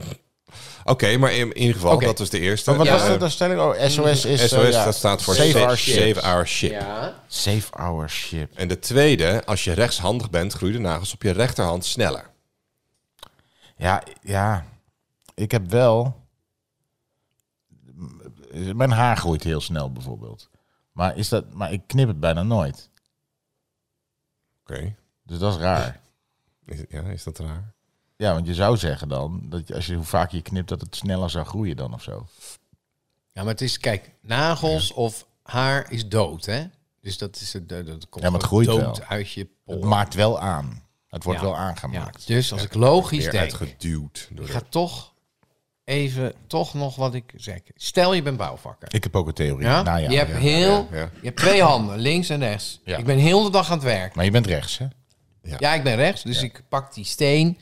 S2: Oké, maar in, in ieder geval,
S3: Oké.
S2: dat was de eerste.
S1: Maar wat
S2: Eh,
S1: was dat dan stelling? Oh, SOS is... eh,
S2: SOS,
S1: ja.
S2: dat staat voor
S1: Save
S2: Save,
S1: Our
S2: Save
S1: Ship.
S2: Our Ship.
S3: ja.
S1: Save our ship.
S2: En de tweede, als je rechtshandig bent, groeien de nagels op je rechterhand sneller.
S1: Ja, ja. Ik heb wel... Mijn haar groeit heel snel bijvoorbeeld. Maar, is dat, maar ik knip het bijna nooit.
S2: Oké,
S1: Dus dat is raar.
S2: Is- ja, is dat raar?
S1: Ja, want je zou zeggen dan... dat je- als je, hoe vaker je knipt, dat het sneller zou groeien dan of zo.
S3: ja, maar het is, kijk, nagels of haar is dood, hè? Dus dat is het, dat dat komt
S1: Ja, maar het
S3: ook
S1: groeit
S3: dood
S1: wel.
S3: uit je
S1: Het
S3: pol.
S1: maakt wel aan. Het wordt
S3: Oh. Ja.
S1: wel
S3: Ja,
S1: aangemaakt.
S3: dus als ik logisch
S2: Weer
S3: denk,
S2: uitgeduwd. Door
S3: ik
S2: de-
S3: ga toch even, toch nog wat ik zeg. Stel, je bent bouwvakker.
S1: Ik heb ook een theorie.
S3: Ja?
S1: Nou ja.
S3: je hebt heel,
S2: ja, ja.
S3: je hebt twee handen, links en rechts.
S1: Ja.
S3: Ik ben heel de dag aan het werk.
S1: Maar je bent rechts, hè?
S3: Ja, ik ben rechts, dus ik pak die steen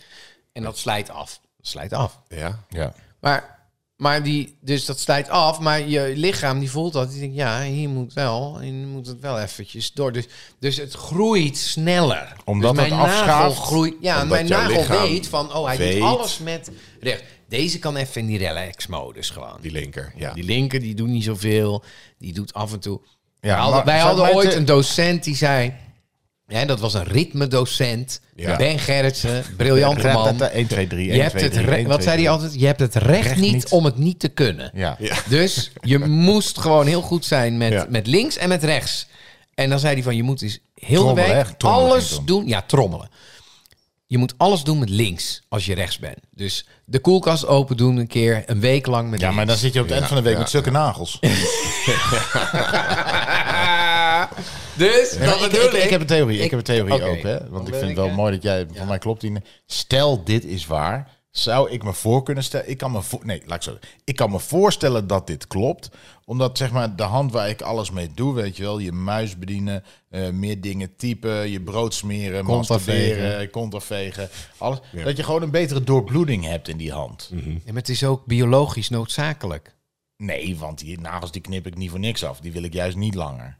S3: en dat slijt af. Dat slijt af.
S2: Ja,
S1: Ja.
S3: Maar, maar die, dus dat slijt af, maar je lichaam die voelt dat. Die denkt, ja, hier moet wel, hier moet het wel eventjes door. Dus, dus het groeit sneller.
S1: Omdat
S3: dus
S1: het afschuift,
S3: groeit. Ja,
S2: omdat
S3: mijn
S2: jouw
S3: nagel
S2: lichaam
S3: weet van, oh, hij
S2: weet-
S3: doet alles met recht. Deze kan even in die relax-modus gewoon.
S2: die linker. Ja.
S3: Die linker, die doet niet zoveel. Die doet af en toe.
S1: Ja,
S3: we hadden,
S1: maar
S3: wij
S1: zou
S3: hadden
S1: mij
S3: ooit
S1: te-
S3: een docent die zei... Ja, dat was een ritmedocent.
S2: Ja.
S3: Ben Gerritsen, briljante man.
S1: 1, 2, 3, 1,
S3: Je hebt
S1: 2,
S3: het
S1: 3,
S3: re-
S1: 1,
S3: wat
S1: 2,
S3: zei hij altijd? Je hebt het recht,
S1: Recht
S3: niet,
S1: niet.
S3: om het niet te kunnen.
S1: Ja.
S2: Ja.
S3: Dus je moest gewoon heel goed zijn met,
S2: Ja.
S3: met links en met rechts. En dan zei hij van, je moet eens heel
S1: Trommelen,
S3: de week
S1: hè? Trommelen
S3: alles
S1: ging het
S3: doen. Ja, trommelen. Je moet alles doen met links als je rechts bent. Dus de koelkast open doen een keer, een week lang met
S1: Ja,
S3: links.
S1: maar dan zit je op het eind van de week
S2: ja,
S1: met zulke nagels.
S3: Dus, dat
S1: Nou, ik,
S3: bedoel
S1: ik, ik heb een theorie, ik,
S3: Ik-
S1: heb een theorie
S3: Oké.
S1: ook, hè? Want
S3: Dan
S1: ik
S3: ben
S1: vind het
S3: ik,
S1: wel
S3: eh,
S1: mooi dat jij, voor mij klopt die. Stel, dit is waar. zou ik me voor kunnen stellen. Ik kan me voor, nee, laat ik zo. zeggen. Ik kan me voorstellen dat dit klopt, omdat zeg maar de hand waar ik alles mee doe, weet je wel, je muis bedienen, eh, meer dingen typen, je brood smeren,
S3: Kont
S1: masturberen, kont afvegen, alles. Dat je gewoon een betere doorbloeding hebt in die hand.
S3: Ja, maar het is ook biologisch noodzakelijk.
S1: Nee, want die nagels die knip ik niet voor niks af. Die wil ik juist niet langer.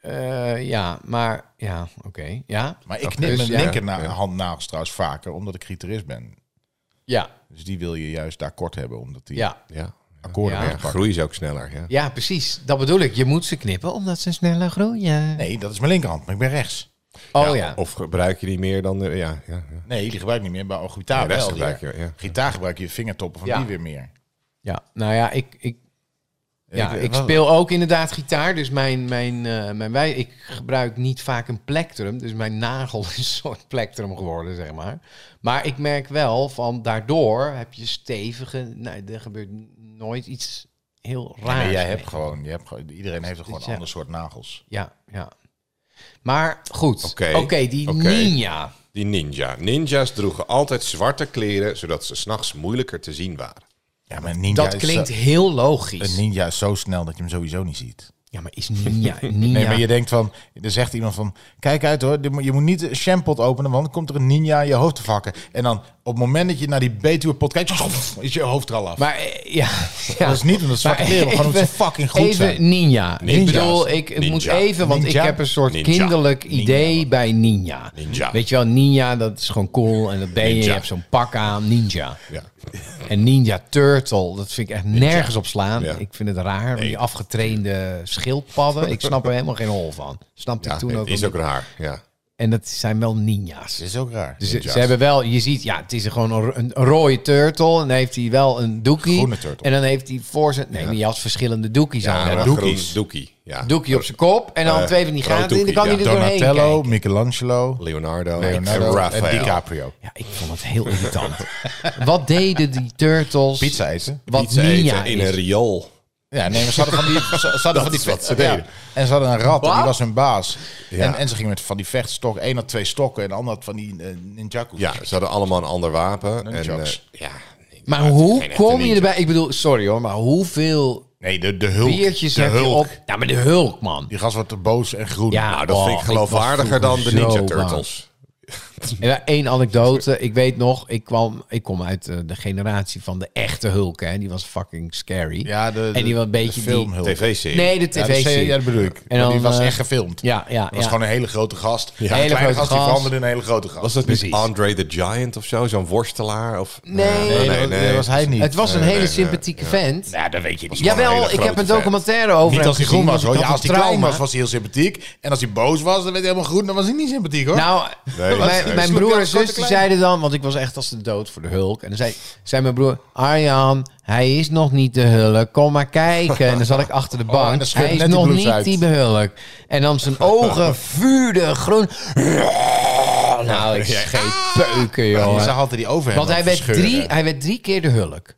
S3: Eh, ja, maar ja, oké. Ja,
S1: Maar ik knip mijn
S3: is- dus ja.
S1: linkerna- handnagels trouwens vaker, omdat ik gitarist ben.
S3: ja,
S1: Dus die wil je juist daar kort hebben, omdat die
S3: ja.
S2: Ja.
S1: akkoorden
S3: Ja.
S2: Ja,
S1: wegpakken.
S2: groei is ook sneller. Ja.
S3: Ja, precies. Dat bedoel ik. Je moet ze knippen omdat ze sneller groeien.
S1: Nee, dat is mijn linkerhand, maar ik ben rechts.
S3: Oh ja.
S2: Of gebruik je die meer dan... eh, ja, ja, ja.
S1: Nee, die gebruik ik niet meer, maar oh, gitaar
S2: Ja, de rest
S1: wel. die-
S2: gebruik je, ja.
S1: Gitaar gebruik je vingertoppen van
S3: Ja.
S1: die weer meer.
S3: Ja, nou ja, ik, ik, ja,
S1: Ik-
S3: ik,
S1: wat-
S3: speel ook inderdaad gitaar. Dus mijn, mijn, eh, mijn wij, ik gebruik niet vaak een plectrum. Dus mijn nagel is een soort plectrum geworden, zeg maar. Maar ik merk wel van daardoor heb je stevige. Nou, er gebeurt nooit iets heel
S1: Ja,
S3: raars.
S1: maar jij
S3: mee.
S1: hebt gewoon, je hebt gewoon, iedereen heeft er gewoon
S3: Ja.
S1: een ander soort nagels.
S3: Ja, ja. Maar goed. Oké,
S2: Oké.
S3: die
S2: Oké.
S3: ninja.
S2: Die ninja. Ninja's droegen altijd zwarte kleren, zodat ze s'nachts moeilijker te zien waren.
S1: Ja, maar een ninja,
S3: Dat
S1: is
S3: klinkt
S1: zo,
S3: heel
S1: een
S3: logisch.
S1: ninja is zo snel dat je hem sowieso niet ziet.
S3: Ja, maar is ninja. ninja.
S1: Nee, maar je denkt van, er zegt iemand van, kijk uit hoor, dit moet- je moet niet een shampot openen, want dan komt er een ninja in je hoofd te vakken. En dan op het moment dat je naar die Betuwe pot kijkt, is je hoofd er al af.
S3: Maar eh, ja, ja.
S1: Dat is niet omdat ze
S3: Maar
S1: zwarte kleren, maar gewoon omdat
S3: even-
S1: ze fucking goed
S3: even
S1: zijn.
S3: Ninja. Ik
S2: Ninja's.
S3: bedoel, ik het moet
S2: Ninja.
S3: even, want
S1: Ninja.
S3: ik heb een soort
S2: Ninja.
S3: kinderlijk idee bij Ninja.
S2: Ninja.
S3: Weet je wel, Ninja, dat is gewoon cool en dat ben je. Je
S2: Ninja.
S3: hebt zo'n pak aan, Ninja.
S2: Ja.
S3: En Ninja Turtle, dat vind ik echt nergens op slaan.
S2: Ja.
S3: Ik vind het raar, die afgetrainde schildpadden. Ik snap er helemaal geen hol van. Snapte
S2: Ja,
S3: ik toen
S2: het
S3: ook.
S2: is
S3: al
S2: ook
S3: niet.
S2: raar. Ja.
S3: En dat zijn wel ninja's.
S1: dat is ook raar.
S3: Dus ze-
S2: Ninja's.
S3: ze hebben wel, je ziet, ja, het is gewoon een, ro- een rode turtle. En dan heeft hij wel een doekie.
S1: Groene turtle.
S3: En dan heeft hij voor zijn... Nee, maar je had verschillende doekies aan.
S2: Ja,
S3: Een
S2: maar
S3: doek-
S2: groen
S1: doekies.
S2: doekie. Ja.
S3: doekie op zijn kop. En dan
S2: Eh,
S3: twee van die
S2: rood
S3: gaten. En dan
S2: doekie,
S3: kan hij
S2: ja.
S3: er doorheen
S1: Donatello,
S3: kijken.
S1: Michelangelo,
S2: Leonardo,
S1: Leonardo
S2: en
S1: en,
S2: Raphaël.
S1: DiCaprio.
S3: Ja, ik vond het heel irritant. Wat deden die turtles?
S1: Pizza eten.
S3: Wat
S2: Pizza
S3: ninja
S2: eten in een
S3: is.
S2: riool.
S1: Ja, nee, maar ze hadden van die, ze- ze hadden van die
S2: is wat ze
S1: ja.
S2: deden.
S1: En ze hadden een rat en
S3: Wat?
S1: die was hun baas.
S2: Ja.
S1: En, en ze gingen met van die vechtstok. Eén had twee stokken en de ander had van die eh, ninjaku.
S2: Ja, ze hadden allemaal een ander wapen. En,
S1: Nunchucks.
S2: eh, ja, nee,
S3: Maar
S2: het is
S3: hoe
S2: geen echte
S3: kom je
S2: ninja.
S3: erbij? Ik bedoel, sorry hoor, maar hoeveel
S1: Nee, de, de hulk.
S3: biertjes
S1: de
S3: heb je
S1: hulk.
S3: op? Ja, maar de hulk, man.
S1: Die gast wordt te boos en groen.
S3: Ja.
S2: Nou, dat
S3: Oh,
S2: vind ik
S3: ik was
S2: geloofwaardiger dan de
S3: vroeger
S2: Ninja
S3: zo
S2: Turtles.
S3: Ja, Eén anekdote. Ik weet nog, ik, kwam, ik kom uit eh, de generatie van de echte hulk. Hè. Die was fucking scary.
S1: Ja, de,
S3: en die was een beetje die-
S2: Oh.
S1: filmhulk.
S2: TV-serie.
S3: Nee, de
S1: Ja, dat,
S3: tv-serie.
S1: ja, dat bedoel ik.
S3: En
S1: Maar die
S3: dan,
S1: was
S3: eh,
S1: echt gefilmd.
S3: Ja, ja,
S1: Dat was
S3: ja.
S1: gewoon een hele grote gast. Ja,
S3: Hele
S1: een kleine
S3: grote
S1: gast, die
S3: gast.
S1: veranderde in een hele grote gast.
S2: Was dat niet
S3: Precies.
S2: Andre the Giant of zo? Zo'n worstelaar? Of...
S3: Nee.
S1: nee,
S2: nee,
S1: dat-
S2: nee.
S1: dat was hij niet.
S3: Het was een
S2: Nee,
S3: hele
S2: nee, nee.
S3: sympathieke vent.
S1: ja, dat weet je niet.
S2: een
S3: Jawel,
S2: hele
S3: ik heb
S2: grote
S3: een
S2: vent.
S3: documentaire over
S1: Niet
S3: hem
S1: als hij
S3: gezien,
S1: groen was
S3: want
S1: hoor.
S3: ik
S1: Ja,
S3: had
S1: als hij
S3: een
S1: klein
S3: trauma.
S1: was, was hij heel sympathiek. En als hij boos was, dan werd hij helemaal groen. Dan was hij niet sympathiek hoor.
S3: Nou,
S2: Nee, dat is-
S3: mijn, mijn
S1: Sloeg
S3: broer
S1: je
S3: en
S1: als
S3: zus
S1: korte
S3: die
S1: klein?
S3: zeiden dan, want ik was echt als de dood voor de hulk. En dan zei, zei mijn broer, Arjan, hij is nog niet de hulk, kom maar kijken. En dan zat ik achter de
S1: Oh, en
S3: bank,
S1: dan scheurde
S3: hij is
S1: net die
S3: nog
S1: blouse
S3: niet
S1: uit.
S3: die behulk. En dan zijn ogen vuurde groen. Nou, ik scheet peuken,
S1: ze
S3: jongen.
S1: hadden die over
S3: Want hij werd, drie, hij werd drie keer de hulk.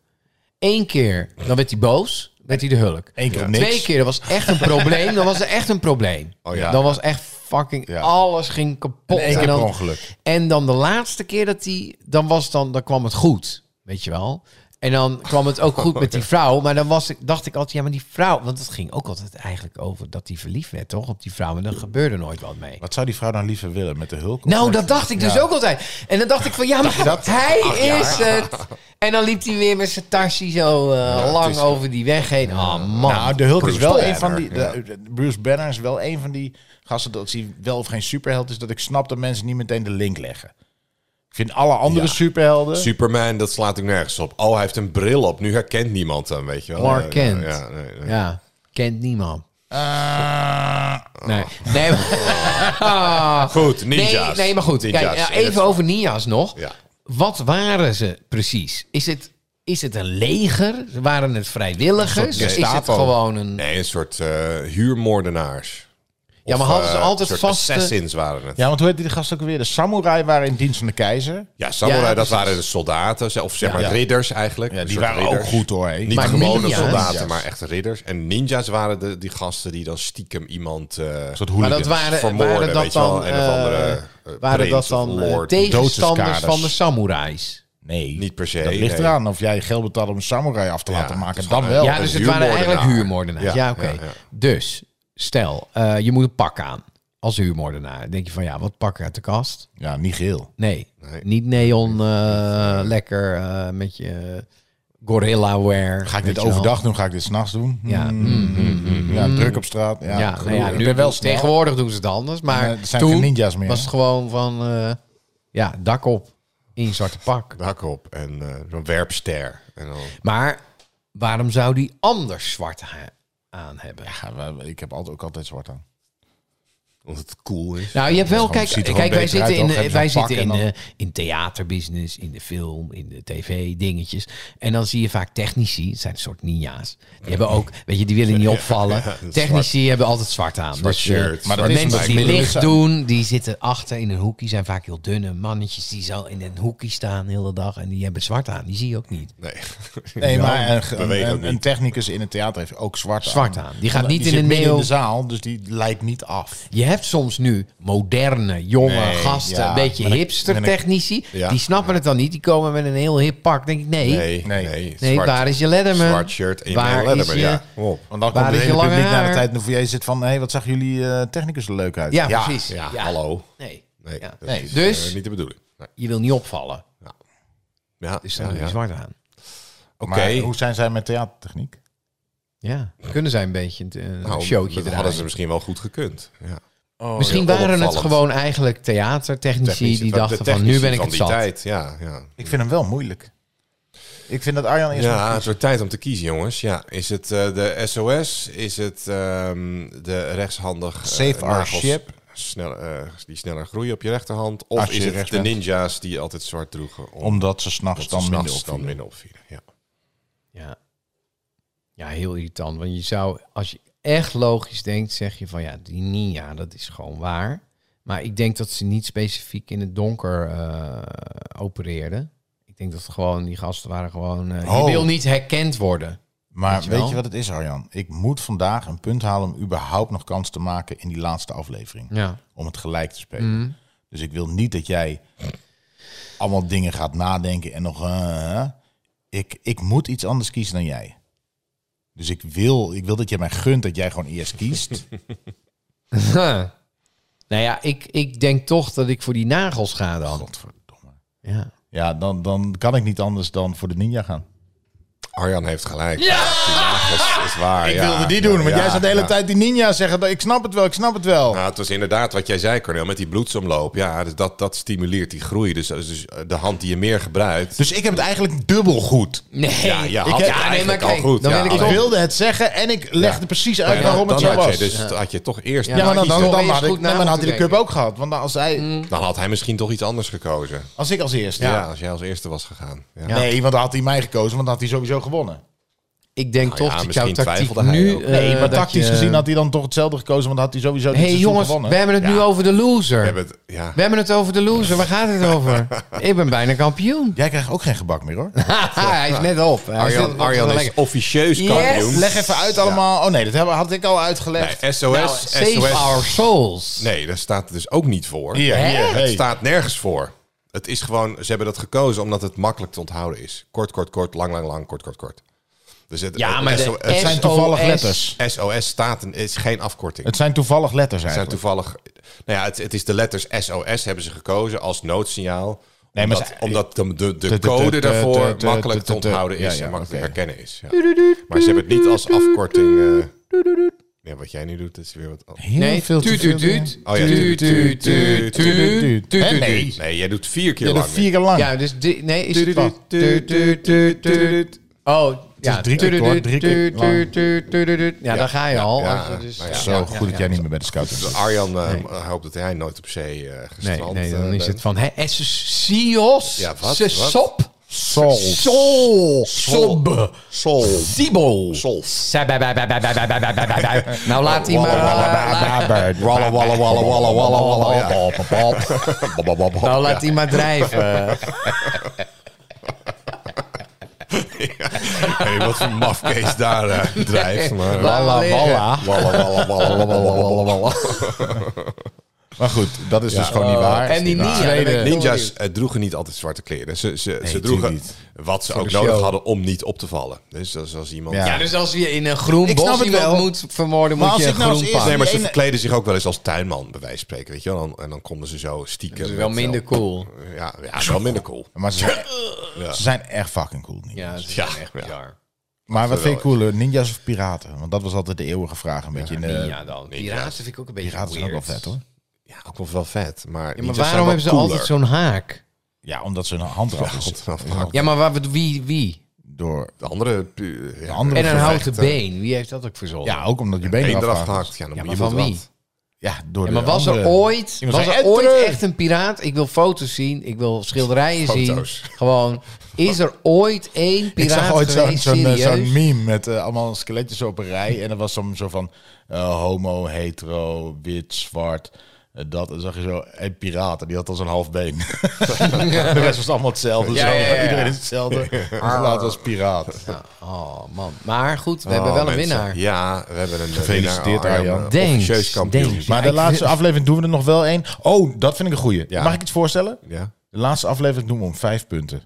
S3: Eén keer, dan werd hij boos, werd hij de hulk.
S1: Eén keer op niks.
S3: Twee keer, dat was echt een probleem. Dan was er echt een probleem.
S2: Oh ja.
S3: Dan was echt fucking
S1: Ja.
S3: alles ging kapot.
S1: En één keer
S3: dan,
S1: per ongeluk.
S3: En dan de laatste keer dat hij, dan was dan, dan kwam het goed, weet je wel. En dan kwam het ook goed met die vrouw. Maar dan was ik, dacht ik altijd, ja, maar die vrouw... Want het ging ook altijd eigenlijk over dat hij verliefd werd, toch? Op die vrouw. En dan gebeurde nooit wat mee.
S1: Wat zou die vrouw nou liever willen met de hulk?
S3: Nou, dat dacht ik dus ook altijd. En dan dacht ik van, ja, maar hij is het. En dan liep hij weer met zijn tasje zo eh, lang
S2: is-
S3: over die weg heen. Oh, man.
S1: Nou, de Hulk
S2: Bruce
S1: is wel
S2: Banner,
S1: een van die. de- de- Bruce Banner is wel een van die gasten dat hij wel of geen superheld is. Dat ik snap dat mensen niet meteen de link leggen. Ik vind alle andere superhelden.
S2: Superman, dat slaat ik nergens op. Oh, hij heeft een bril op. Nu herkent niemand hem, weet je wel.
S3: Clark
S2: Ja,
S3: Kent.
S2: Ja, ja, nee, nee.
S3: ja, kent niemand.
S1: Eh,
S3: Nee, nee, maar-
S2: Goed, ninja's.
S3: nee, nee, maar goed. Kijk,
S2: Ninja's.
S3: ja,
S2: In het-
S3: even over Nia's nog.
S2: Ja.
S3: Wat waren ze precies? Is het, is het een leger? Waren het vrijwilligers?
S1: Een soort
S3: is het
S1: Gestapo.
S3: gewoon een...
S2: Nee, een soort eh, huurmoordenaars.
S3: ja, maar
S2: Of,
S3: hadden ze
S2: eh,
S3: altijd
S2: een soort
S3: vaste...
S2: assassins waren het. Ja,
S1: ja, want hoe heet die gast ook weer? De samurai waren in dienst van de keizer.
S2: samurai,
S3: Ja,
S2: dat
S3: precies.
S2: waren de soldaten. ze- Of zeg maar
S1: Ja.
S2: ridders eigenlijk.
S1: Ja,
S2: Een
S1: die
S2: soort
S1: waren ook
S2: ridders.
S1: goed hoor. hè.
S2: Niet
S3: Maar
S2: gewone
S3: ninja's.
S2: soldaten,
S1: Ninja's.
S2: maar echt ridders. En ninja's waren de, die gasten die dan stiekem iemand eh
S1: soort
S3: Maar
S1: hooligans.
S3: dat waren,
S2: vermoorden,
S3: waren
S2: weet
S3: dat
S2: je wel,
S3: dan,
S2: een of andere,
S3: eh,
S2: eh,
S3: waren dat
S2: prins of
S3: dan eh,
S2: lord,
S3: tegenstanders
S1: doodskaders.
S3: van de samurais?
S1: Nee,
S2: Niet per se,
S1: Dat ligt
S2: nee.
S1: eraan of jij geld betaalt om een samurai af te
S2: Ja,
S1: laten
S2: het
S1: maken.
S2: is
S1: Dan
S2: gewoon een-
S1: wel.
S3: Ja, dus
S2: een
S3: het waren
S2: huurmoordenaar.
S3: eigenlijk huurmoordenaars. Ja,
S2: Ja,
S3: oké.
S2: ja, ja.
S3: Dus, stel, eh, je moet een pak aan als huurmoordenaar. Dan denk je van, ja, wat pak ik uit de kast?
S1: Ja, niet geel.
S3: Nee,
S2: Nee.
S3: niet neon, eh, lekker eh, met je gorilla wear.
S1: Ga ik
S3: weet
S1: dit
S3: je wel.
S1: overdag doen? Ga ik dit s'nachts doen?
S3: Ja.
S1: Mm. ja druk op straat. Ja,
S3: Ja, nou
S1: gedoe.
S3: ja,
S1: ik
S3: nu
S1: ben wel snel.
S3: tegenwoordig doen ze het anders, maar
S1: Ja, er zijn
S3: toen
S1: geen ninja's meer,
S3: was
S1: hè?
S3: het gewoon van, eh, ja, dak op in je zwarte pak.
S2: De hak op en eh, zo'n werpster. En dan,
S3: Maar waarom zou die anders zwart ha- aan hebben?
S1: Ja, we- ik heb altijd, ook altijd zwart aan.
S2: omdat het cool is.
S3: Nou, je hebt wel,
S1: gewoon-
S3: kijk,
S1: het ziet er
S3: kijk
S1: gewoon
S3: wij
S1: beter
S3: zitten
S1: uit,
S3: in,
S1: toch?
S3: de-
S1: Even
S3: wij
S1: zo'n pak
S3: zitten in,
S1: en dan-
S3: de- in theaterbusiness, in de film, in de tv-dingetjes. En dan zie je vaak technici, het zijn een soort ninja's. Die hebben ook, weet je, die willen niet opvallen. Technici hebben altijd zwart aan.
S2: Zwart
S3: eh,
S2: shirt,
S1: maar
S3: de
S1: dat is
S3: mensen
S1: omdat
S3: die
S1: middelwit
S3: licht
S1: zijn.
S3: doen, die zitten achter in een hoekje, zijn vaak heel dunne mannetjes die zo in een hoekje staan de hele dag. En die hebben zwart aan, die zie je ook niet.
S2: Nee.
S1: Nee, maar een,
S2: beweeg
S1: een-
S2: ook
S1: een
S2: niet.
S1: technicus in het theater heeft ook zwart,
S3: Zwart aan. Die gaat
S1: Want
S3: niet in
S1: zit
S3: een
S1: midden
S3: neo-
S1: in de zaal, dus die leidt niet af.
S3: Je hebt soms nu moderne, jonge
S2: Nee,
S3: gasten,
S1: ja.
S3: een beetje
S1: Ben ik-
S3: hipster
S1: ben ik-
S3: technici.
S2: Ja.
S3: Die snappen het dan niet. Die komen met een heel hip pak. Denk ik, nee.
S2: Nee, nee.
S1: Nee.
S3: Nee,
S2: zwart,
S3: waar is je Letterman?
S2: Zwart shirt en je
S3: Waar
S2: bent Letterman,
S3: is je-
S2: ja. Kom Op.
S1: Want dan
S3: Waar
S1: komt het
S3: is je
S1: hele
S3: lange
S1: publiek naar de
S3: haar?
S1: tijd en de foyer zit van... hé, hey, wat zag jullie eh, technicus er leuk uit?
S3: Ja, precies.
S2: Ja,
S3: Ja.
S2: hallo.
S3: Nee.
S2: Nee,
S3: Ja.
S2: dat
S1: Nee,
S2: is
S3: dus-
S2: eh, niet de bedoeling. Nee.
S3: Je wil niet opvallen.
S2: Ja,
S3: Dus dan
S2: ja,
S3: doe je
S2: ja.
S3: zwart aan.
S1: Oké.
S2: Oké.
S1: Hoe zijn zij met theatertechniek?
S3: Ja. Kunnen zij een beetje een, een
S2: Nou,
S3: showtje
S2: dat
S3: draaien.
S2: hadden ze misschien wel goed gekund. Oh, Ja.
S3: Misschien
S2: heel
S3: waren het
S2: onopvallend.
S3: gewoon eigenlijk theatertechnici
S2: Technici,
S3: die
S2: de
S3: dachten van
S2: technici
S3: nu ben ik het
S2: die
S3: zat.
S2: tijd, ja, ja.
S1: Ik vind hem wel moeilijk. Ik vind dat Arjan eerst... moet
S2: Ja,
S1: kiezen.
S2: het wordt tijd om te kiezen, jongens. Ja, is het eh, de SOS? Is het ehm, de rechtshandig eh,
S1: Save our ship.
S2: Snel, eh, die sneller groeien op je rechterhand? Of
S1: Als je
S2: is het
S1: rechts
S2: de
S1: bent.
S2: ninja's die altijd zwart droegen? Om,
S1: Omdat ze s'nachts
S2: omdat
S1: dan
S2: ze
S1: minder
S2: s'nachts dan
S1: opvielen.
S2: minder opvielen. Ja.
S3: Ja. ja, heel irritant. Want je zou, als je echt logisch denkt, zeg je van ja, die Nia, dat is gewoon waar. Maar ik denk dat ze niet specifiek in het donker eh, opereerden. Ik denk dat gewoon die gasten waren gewoon. eh
S1: Oh.
S3: Je wil niet herkend worden.
S1: Maar
S3: Weet
S1: weet
S3: je
S1: je,
S3: wel?
S1: wat het is, Arjan? Ik moet vandaag een punt halen om überhaupt nog kans te maken in die laatste aflevering.
S3: Ja.
S1: Om het gelijk te spelen. Dus ik wil niet dat jij allemaal dingen gaat nadenken en nog... eh, ik, ik moet iets anders kiezen dan jij. Dus ik wil, ik wil dat jij mij gunt dat jij gewoon eerst kiest.
S3: Nou ja, ik, ik denk toch dat ik voor die nagels ga dan.
S1: Godverdomme.
S3: Ja.
S1: Ja, dan, dan kan ik niet anders dan voor de ninja gaan.
S2: Arjan heeft gelijk. Die nagels is waar.
S1: Ik
S2: ja,
S1: wilde die
S2: ja,
S1: doen, want
S2: ja,
S1: jij zat de hele
S2: ja.
S1: tijd die ninja zeggen. dat Ik snap het wel, ik snap het wel.
S2: Nou, het was inderdaad wat jij zei, Cornel, met die bloedsomloop. Ja, dus dat, dat stimuleert die groei. Dus, dus de hand die je meer gebruikt.
S1: Dus ik heb het eigenlijk dubbel goed.
S3: Nee,
S2: Ja, je had het eigenlijk al
S3: kijk,
S2: goed.
S3: Dan
S2: Ja,
S3: wil ik
S1: Ik
S2: alleen-
S3: toch
S1: wilde het zeggen en ik legde precies uit
S2: Ja,
S1: waarom het
S2: dan
S1: zo
S2: had
S1: was.
S2: Je, dus had je toch eerst.
S3: Ja,
S1: ja, maar dan,
S2: moeten
S1: dan,
S2: kiezen.
S1: dan,
S3: Toch
S1: had,
S3: eens
S1: ik,
S3: goed na
S1: nee, maar dan had
S3: moeten
S1: hij de cup
S3: denken.
S1: ook gehad. Want als, hij,
S2: Dan had hij misschien toch iets anders gekozen.
S1: als ik als eerste.
S2: Ja,
S1: Ja.
S2: als jij als eerste was gegaan. Ja.
S3: Ja.
S1: Nee, want dan had hij mij gekozen, want dan had hij sowieso gewonnen.
S3: Ik denk
S2: Nou
S3: toch
S2: ja,
S3: dat jouw
S2: misschien
S3: tactiek
S2: twijfelde hij
S3: nu...
S2: ook.
S3: eh,
S1: Nee, maar
S3: dat
S1: tactisch
S3: je-
S1: gezien had hij dan toch hetzelfde gekozen, want dan had hij sowieso dit
S3: hey,
S1: seizoen
S3: jongens,
S1: gewonnen.
S3: we hebben het nu over de
S2: We
S3: loser.
S2: hebben het, ja.
S3: We hebben het over de loser. Waar gaat het over? ik ben bijna kampioen.
S1: Jij krijgt ook geen gebak meer hoor.
S3: hij is net op. Hij is
S2: Arjan,
S3: net-
S2: Arjan is
S3: lekker.
S2: officieus
S3: Yes.
S2: kampioen.
S1: Leg even uit allemaal. Oh nee, dat hebben- had ik al uitgelegd.
S2: Nee, SOS,
S3: Nou, save
S2: SOS.
S3: our souls.
S2: Nee, daar staat het dus ook niet voor.
S1: Hier,
S3: Hè?
S1: hier,
S2: Het
S1: hey.
S2: staat nergens voor. Het is gewoon, ze hebben dat gekozen omdat het makkelijk te onthouden is. Kort, kort, kort, lang, lang, lang, kort, kort, kort. Dus het,
S3: Ja, maar de
S2: SO-
S1: Het zijn toevallig
S3: SOS.
S1: letters.
S2: SOS staat en is geen afkorting.
S1: Het zijn toevallig letters
S2: Het zijn
S1: eigenlijk.
S2: toevallig. Nou ja, het, het is de letters SOS hebben ze gekozen als noodsignaal.
S1: Nee, maar
S2: omdat,
S1: ze-
S2: omdat de, de, de
S1: de-
S2: code
S1: de-
S2: daarvoor
S1: de- de-
S2: makkelijk
S1: de-
S2: te
S1: de- de-
S2: onthouden
S1: ja,
S2: is
S1: ja,
S2: en makkelijk
S1: oké.
S2: te herkennen is. Ja. Maar ze hebben het niet als afkorting. eh, ja, wat jij nu doet, is weer wat. an-
S1: Heel
S3: Nee,
S1: veel te
S3: tuut,
S1: veel
S3: tuut,
S1: dingen.
S3: tuut.
S2: Oh ja,
S3: Tuut, tuut, tuut, tuut, tuut, tuut,
S1: Hè,
S3: tuut.
S1: nee.
S2: Nee, jij doet vier keer
S1: Je
S2: lang.
S1: doet vier keer lang.
S3: Ja, dus di- nee, is het
S1: Tuut,
S3: wat? Tuut,
S1: tuut,
S3: tuut, tuut, tuut. Oh, ja.
S1: drie keer
S3: tuut,
S1: kort,
S3: tuut,
S1: drie keer
S3: tuut,
S1: lang.
S3: tuut, tuut, tuut. Ja, daar ga je al.
S2: ja,
S3: Als je dus-
S2: nou ja.
S1: Zo
S3: Ja, ja,
S1: goed dat
S3: ja.
S1: jij niet meer bij de scout bent.
S2: Dus Arjan eh, hoopt dat hij nooit op zee eh,
S3: Nee,
S2: gestrand
S3: nee, dan
S2: eh,
S3: is
S2: bent.
S3: het van... hè, Essentios,
S2: Ja, wat,
S3: se
S2: wat?
S3: sop,
S1: Sol.
S3: sol, sob,
S2: Sol.
S3: sibo.
S2: Sol.
S3: Nou, laat die maar... eh,
S2: Walla, walla, walla, walla, walla, walla. ja.
S3: Nou, laat die maar drijven.
S2: Hey, wat voor mafkees daar eh, drijft. Maar,
S3: Laat maar liggen.
S2: Walla, walla, walla, walla, walla, walla, walla.
S1: Wat Maar goed, dat is dus gewoon niet
S3: Oh,
S1: waar.
S3: en die
S1: Nou,
S3: ninja,
S1: tweede-
S3: dat weet ik
S2: Ninjas eh, droegen niet altijd zwarte kleren. Ze, ze, ze
S1: tuurlijk
S2: droegen
S1: niet.
S2: wat ze ook
S3: de
S2: nodig
S3: show.
S2: hadden om niet op te vallen. Dus als, als iemand...
S1: Ja.
S3: Ja, dus als je in een groen
S1: Ik snap
S3: bos
S1: het
S3: iemand
S1: wel.
S3: moet vermoorden,
S1: Maar
S3: moet
S1: als
S3: je
S1: ik
S3: een
S1: nou als
S3: groen
S1: eerste-
S3: pak.
S2: Nee, maar ze
S1: ene-
S2: verkleden zich ook wel eens als tuinman, bij wijze van spreken. Weet je wel? Dan, en dan konden ze zo stiekem...
S3: Dat is wel
S2: met
S3: minder
S2: wel-
S3: cool.
S2: Ja, ja, wel minder cool.
S1: Maar ze, ze zijn echt fucking cool. Ninjas.
S3: Ja, dat is
S2: Ja,
S3: echt
S2: ja.
S3: bizar.
S1: maar wat vind je
S2: wel.
S1: cooler, ninjas of piraten? Want dat was altijd de eeuwige vraag een beetje. in de-
S3: Ninja dan. Piraten vind ik ook een beetje
S1: Piraten zijn ook wel
S3: weird.
S1: vet hoor.
S2: Ja, ook wel wel vet. Maar,
S3: Ja, maar
S2: ninjas
S3: waarom
S2: zijn wel
S3: hebben ze
S2: cooler.
S3: altijd zo'n haak?
S1: Ja, omdat ze een handrat is.
S2: Handrat.
S3: Ja, maar waar, wie, wie?
S1: Door,
S2: De andere... pu- ja,
S1: andere
S3: En een
S1: gevechten.
S3: houten been. Wie heeft dat ook verzonnen?
S1: ja, ook omdat je
S2: één
S1: benen eraf
S2: eraf
S1: gehakt is.
S2: gehakt. Ja, dan
S3: Ja,
S2: moet
S3: maar
S2: je
S3: van
S2: moet
S3: wie?
S2: wat.
S1: Ja, door
S3: Ja,
S1: de
S3: maar was er
S1: andere-
S3: ooit,
S1: Iemand
S3: was
S1: zei,
S3: er
S1: "En
S3: ooit
S1: terug."
S3: echt een piraat? Ik wil foto's zien, ik wil schilderijen zien.
S2: Foto's.
S3: Gewoon, is er ooit één
S1: Ik
S3: piraat
S1: zag ooit zo'n
S3: geweest,
S1: zo'n eh,
S3: serieus?
S1: zo'n meme met eh, allemaal skeletjes op een rij. En er was dan zo van eh, homo, hetero, wit, zwart. eh, dat. En dan zag je zo een piraat. En die had al zo'n half been. de rest was allemaal hetzelfde.
S3: Ja,
S1: zo.
S3: ja, ja.
S1: Iedereen is hetzelfde. Laat als piraat.
S3: Ja, oh man, maar goed, we
S2: Oh,
S3: hebben wel een
S2: mensen.
S3: winnaar.
S2: Ja, we hebben een eh,
S1: Gefeliciteerd,
S2: winnaar, Arjan.
S1: Arjan.
S3: Thanks,
S2: Officieus kampioen.
S3: thanks.
S1: Maar
S3: Ja,
S1: de
S3: ik
S1: laatste
S3: vind-
S1: aflevering doen we er nog wel één. Oh, dat vind ik een goeie.
S2: Ja.
S1: Mag ik iets voorstellen?
S2: Ja.
S1: De laatste aflevering doen we om vijf punten.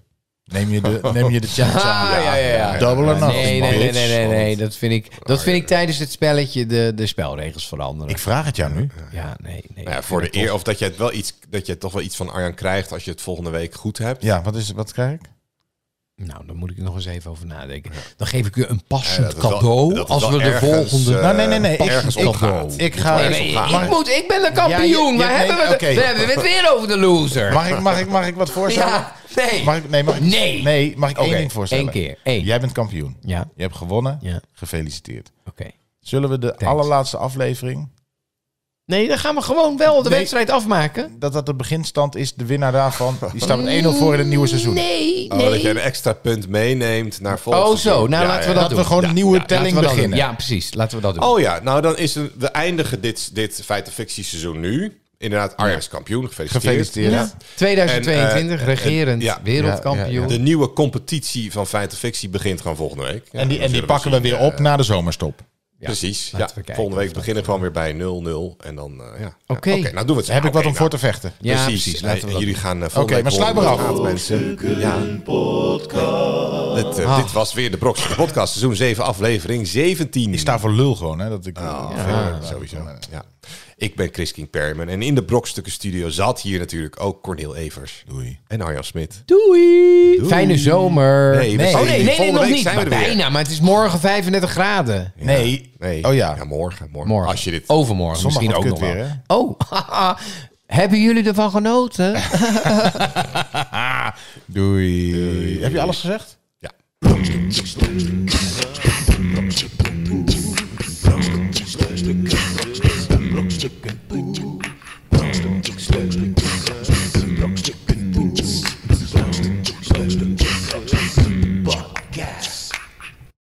S1: Neem je de, neem je de chance aan.
S3: Ah, ja, ja, ja.
S1: Double or nothing,
S3: Nee, nee, nee,
S1: bitch. Oh,
S3: nee, nee, nee. Dat vind ik, dat vind ik tijdens het spelletje de, de spelregels veranderen.
S1: Ik vraag het jou nu.
S3: ja, nee, nee.
S2: Nou ja, voor de eer, of dat je, het wel iets, dat je toch wel iets van Arjan krijgt als je het volgende week goed hebt.
S1: Ja, wat, is, wat krijg ik?
S3: Nou, daar moet ik nog eens even over nadenken. Dan geef ik u een
S2: Ja,
S3: passend
S2: dat is wel-
S3: cadeau
S2: dat is
S3: als
S2: wel
S3: we de
S2: ergens,
S3: volgende...
S2: eh,
S1: Nou, nee, nee, nee. Ik-
S2: Ergens
S1: ik-
S2: opgaat.
S1: Ik ga...
S2: Nee, nee,
S1: mag ik-
S3: moet, ik ben de
S1: Ja, je- je-
S3: Waar
S1: nee, oké.
S3: hebben we het weer over de loser.
S1: Mag ik, mag ik, mag ik wat voorstellen?
S3: nee.
S1: Mag ik, nee, mag ik,
S3: Nee.
S1: mag ik één
S2: Oké,
S1: ding voorstellen?
S3: één keer, één.
S1: Jij bent kampioen.
S3: Ja, oké.
S1: Je hebt gewonnen.
S3: Ja.
S1: Gefeliciteerd. Zullen we de
S3: Thanks.
S1: allerlaatste aflevering,
S3: Nee, dan gaan we gewoon wel de
S1: Nee.
S3: wedstrijd afmaken.
S1: dat dat de beginstand is, de winnaar daarvan, die staat met 1-0 voor in het nieuwe seizoen.
S3: Mm, Nee,
S2: Oh, dat je een extra punt meeneemt naar volgende
S3: Oh zo, nou
S2: Ja,
S3: laten we
S2: ja.
S3: dat
S1: Laten
S3: doen.
S1: we gewoon een
S3: Ja,
S1: nieuwe
S3: ja, laten
S1: telling
S3: we dat
S1: beginnen.
S3: doen. Ja, precies. Laten we dat doen.
S2: Oh ja, nou dan is een, we eindigen dit, dit feit of fictie seizoen nu. Inderdaad, Arjan is kampioen. Gefeliciteerd.
S1: Gefeliciteerd.
S3: Ja. 2022,
S2: En, eh,
S3: regerend
S2: en- ja.
S3: wereldkampioen.
S2: De nieuwe competitie van feit of fictie begint gewoon volgende week.
S1: En die,
S2: Ja, dan
S1: en die
S2: zullen
S1: pakken we
S2: zien,
S1: weer
S2: eh,
S1: op na de zomerstop.
S2: Precies.
S3: laten
S2: Ja.
S3: we kijken
S2: volgende week
S3: of
S2: beginnen we gewoon weer bij 0-0. En dan, eh, ja.
S3: Oké.
S2: nou doen we het.
S1: eh, Heb ik
S2: Oké,
S1: wat om
S2: nou,
S1: voor te vechten?
S3: Ja,
S2: precies. Nee,
S3: precies. Laten we dat
S2: jullie
S3: doen.
S2: gaan eh,
S1: Oké,
S2: volgende
S1: maar
S2: week
S1: sluit maar
S2: horen
S1: af.
S2: hoe het gaat, mensen. Ja. Dit, eh,
S3: Ah.
S2: dit was weer de Brokstukken Podcast, seizoen 7, aflevering 17.
S1: Ik sta voor lul gewoon, hè. Dat ik, eh,
S2: Ja, sowieso. Ja. Ik ben Chris King Perman en in de Brokstukken Studio zat hier natuurlijk ook Cornel Evers
S1: Doei.
S2: en Arjan Smit.
S3: Doei. Fijne zomer.
S2: Nee, we zijn
S3: Oh nee,
S2: hier.
S3: nee, nee,
S2: Volgende
S3: nog
S2: week
S3: niet.
S2: zijn we
S3: Maar
S2: er weer.
S3: bijna, maar het is morgen 35 graden.
S1: Nee.
S2: Nee.
S1: Oh ja.
S2: morgen, morgen.
S3: Morgen.
S2: Als je dit...
S3: Overmorgen
S1: Zondag
S3: misschien ook
S1: wordt
S3: nog
S1: kut
S3: wel.
S1: weer, hè?
S3: Oh, haha. hebben jullie ervan genoten?
S1: Doei. Heb je alles gezegd?
S2: Ja.
S5: Brokstukken, brokstukken, brokstukken.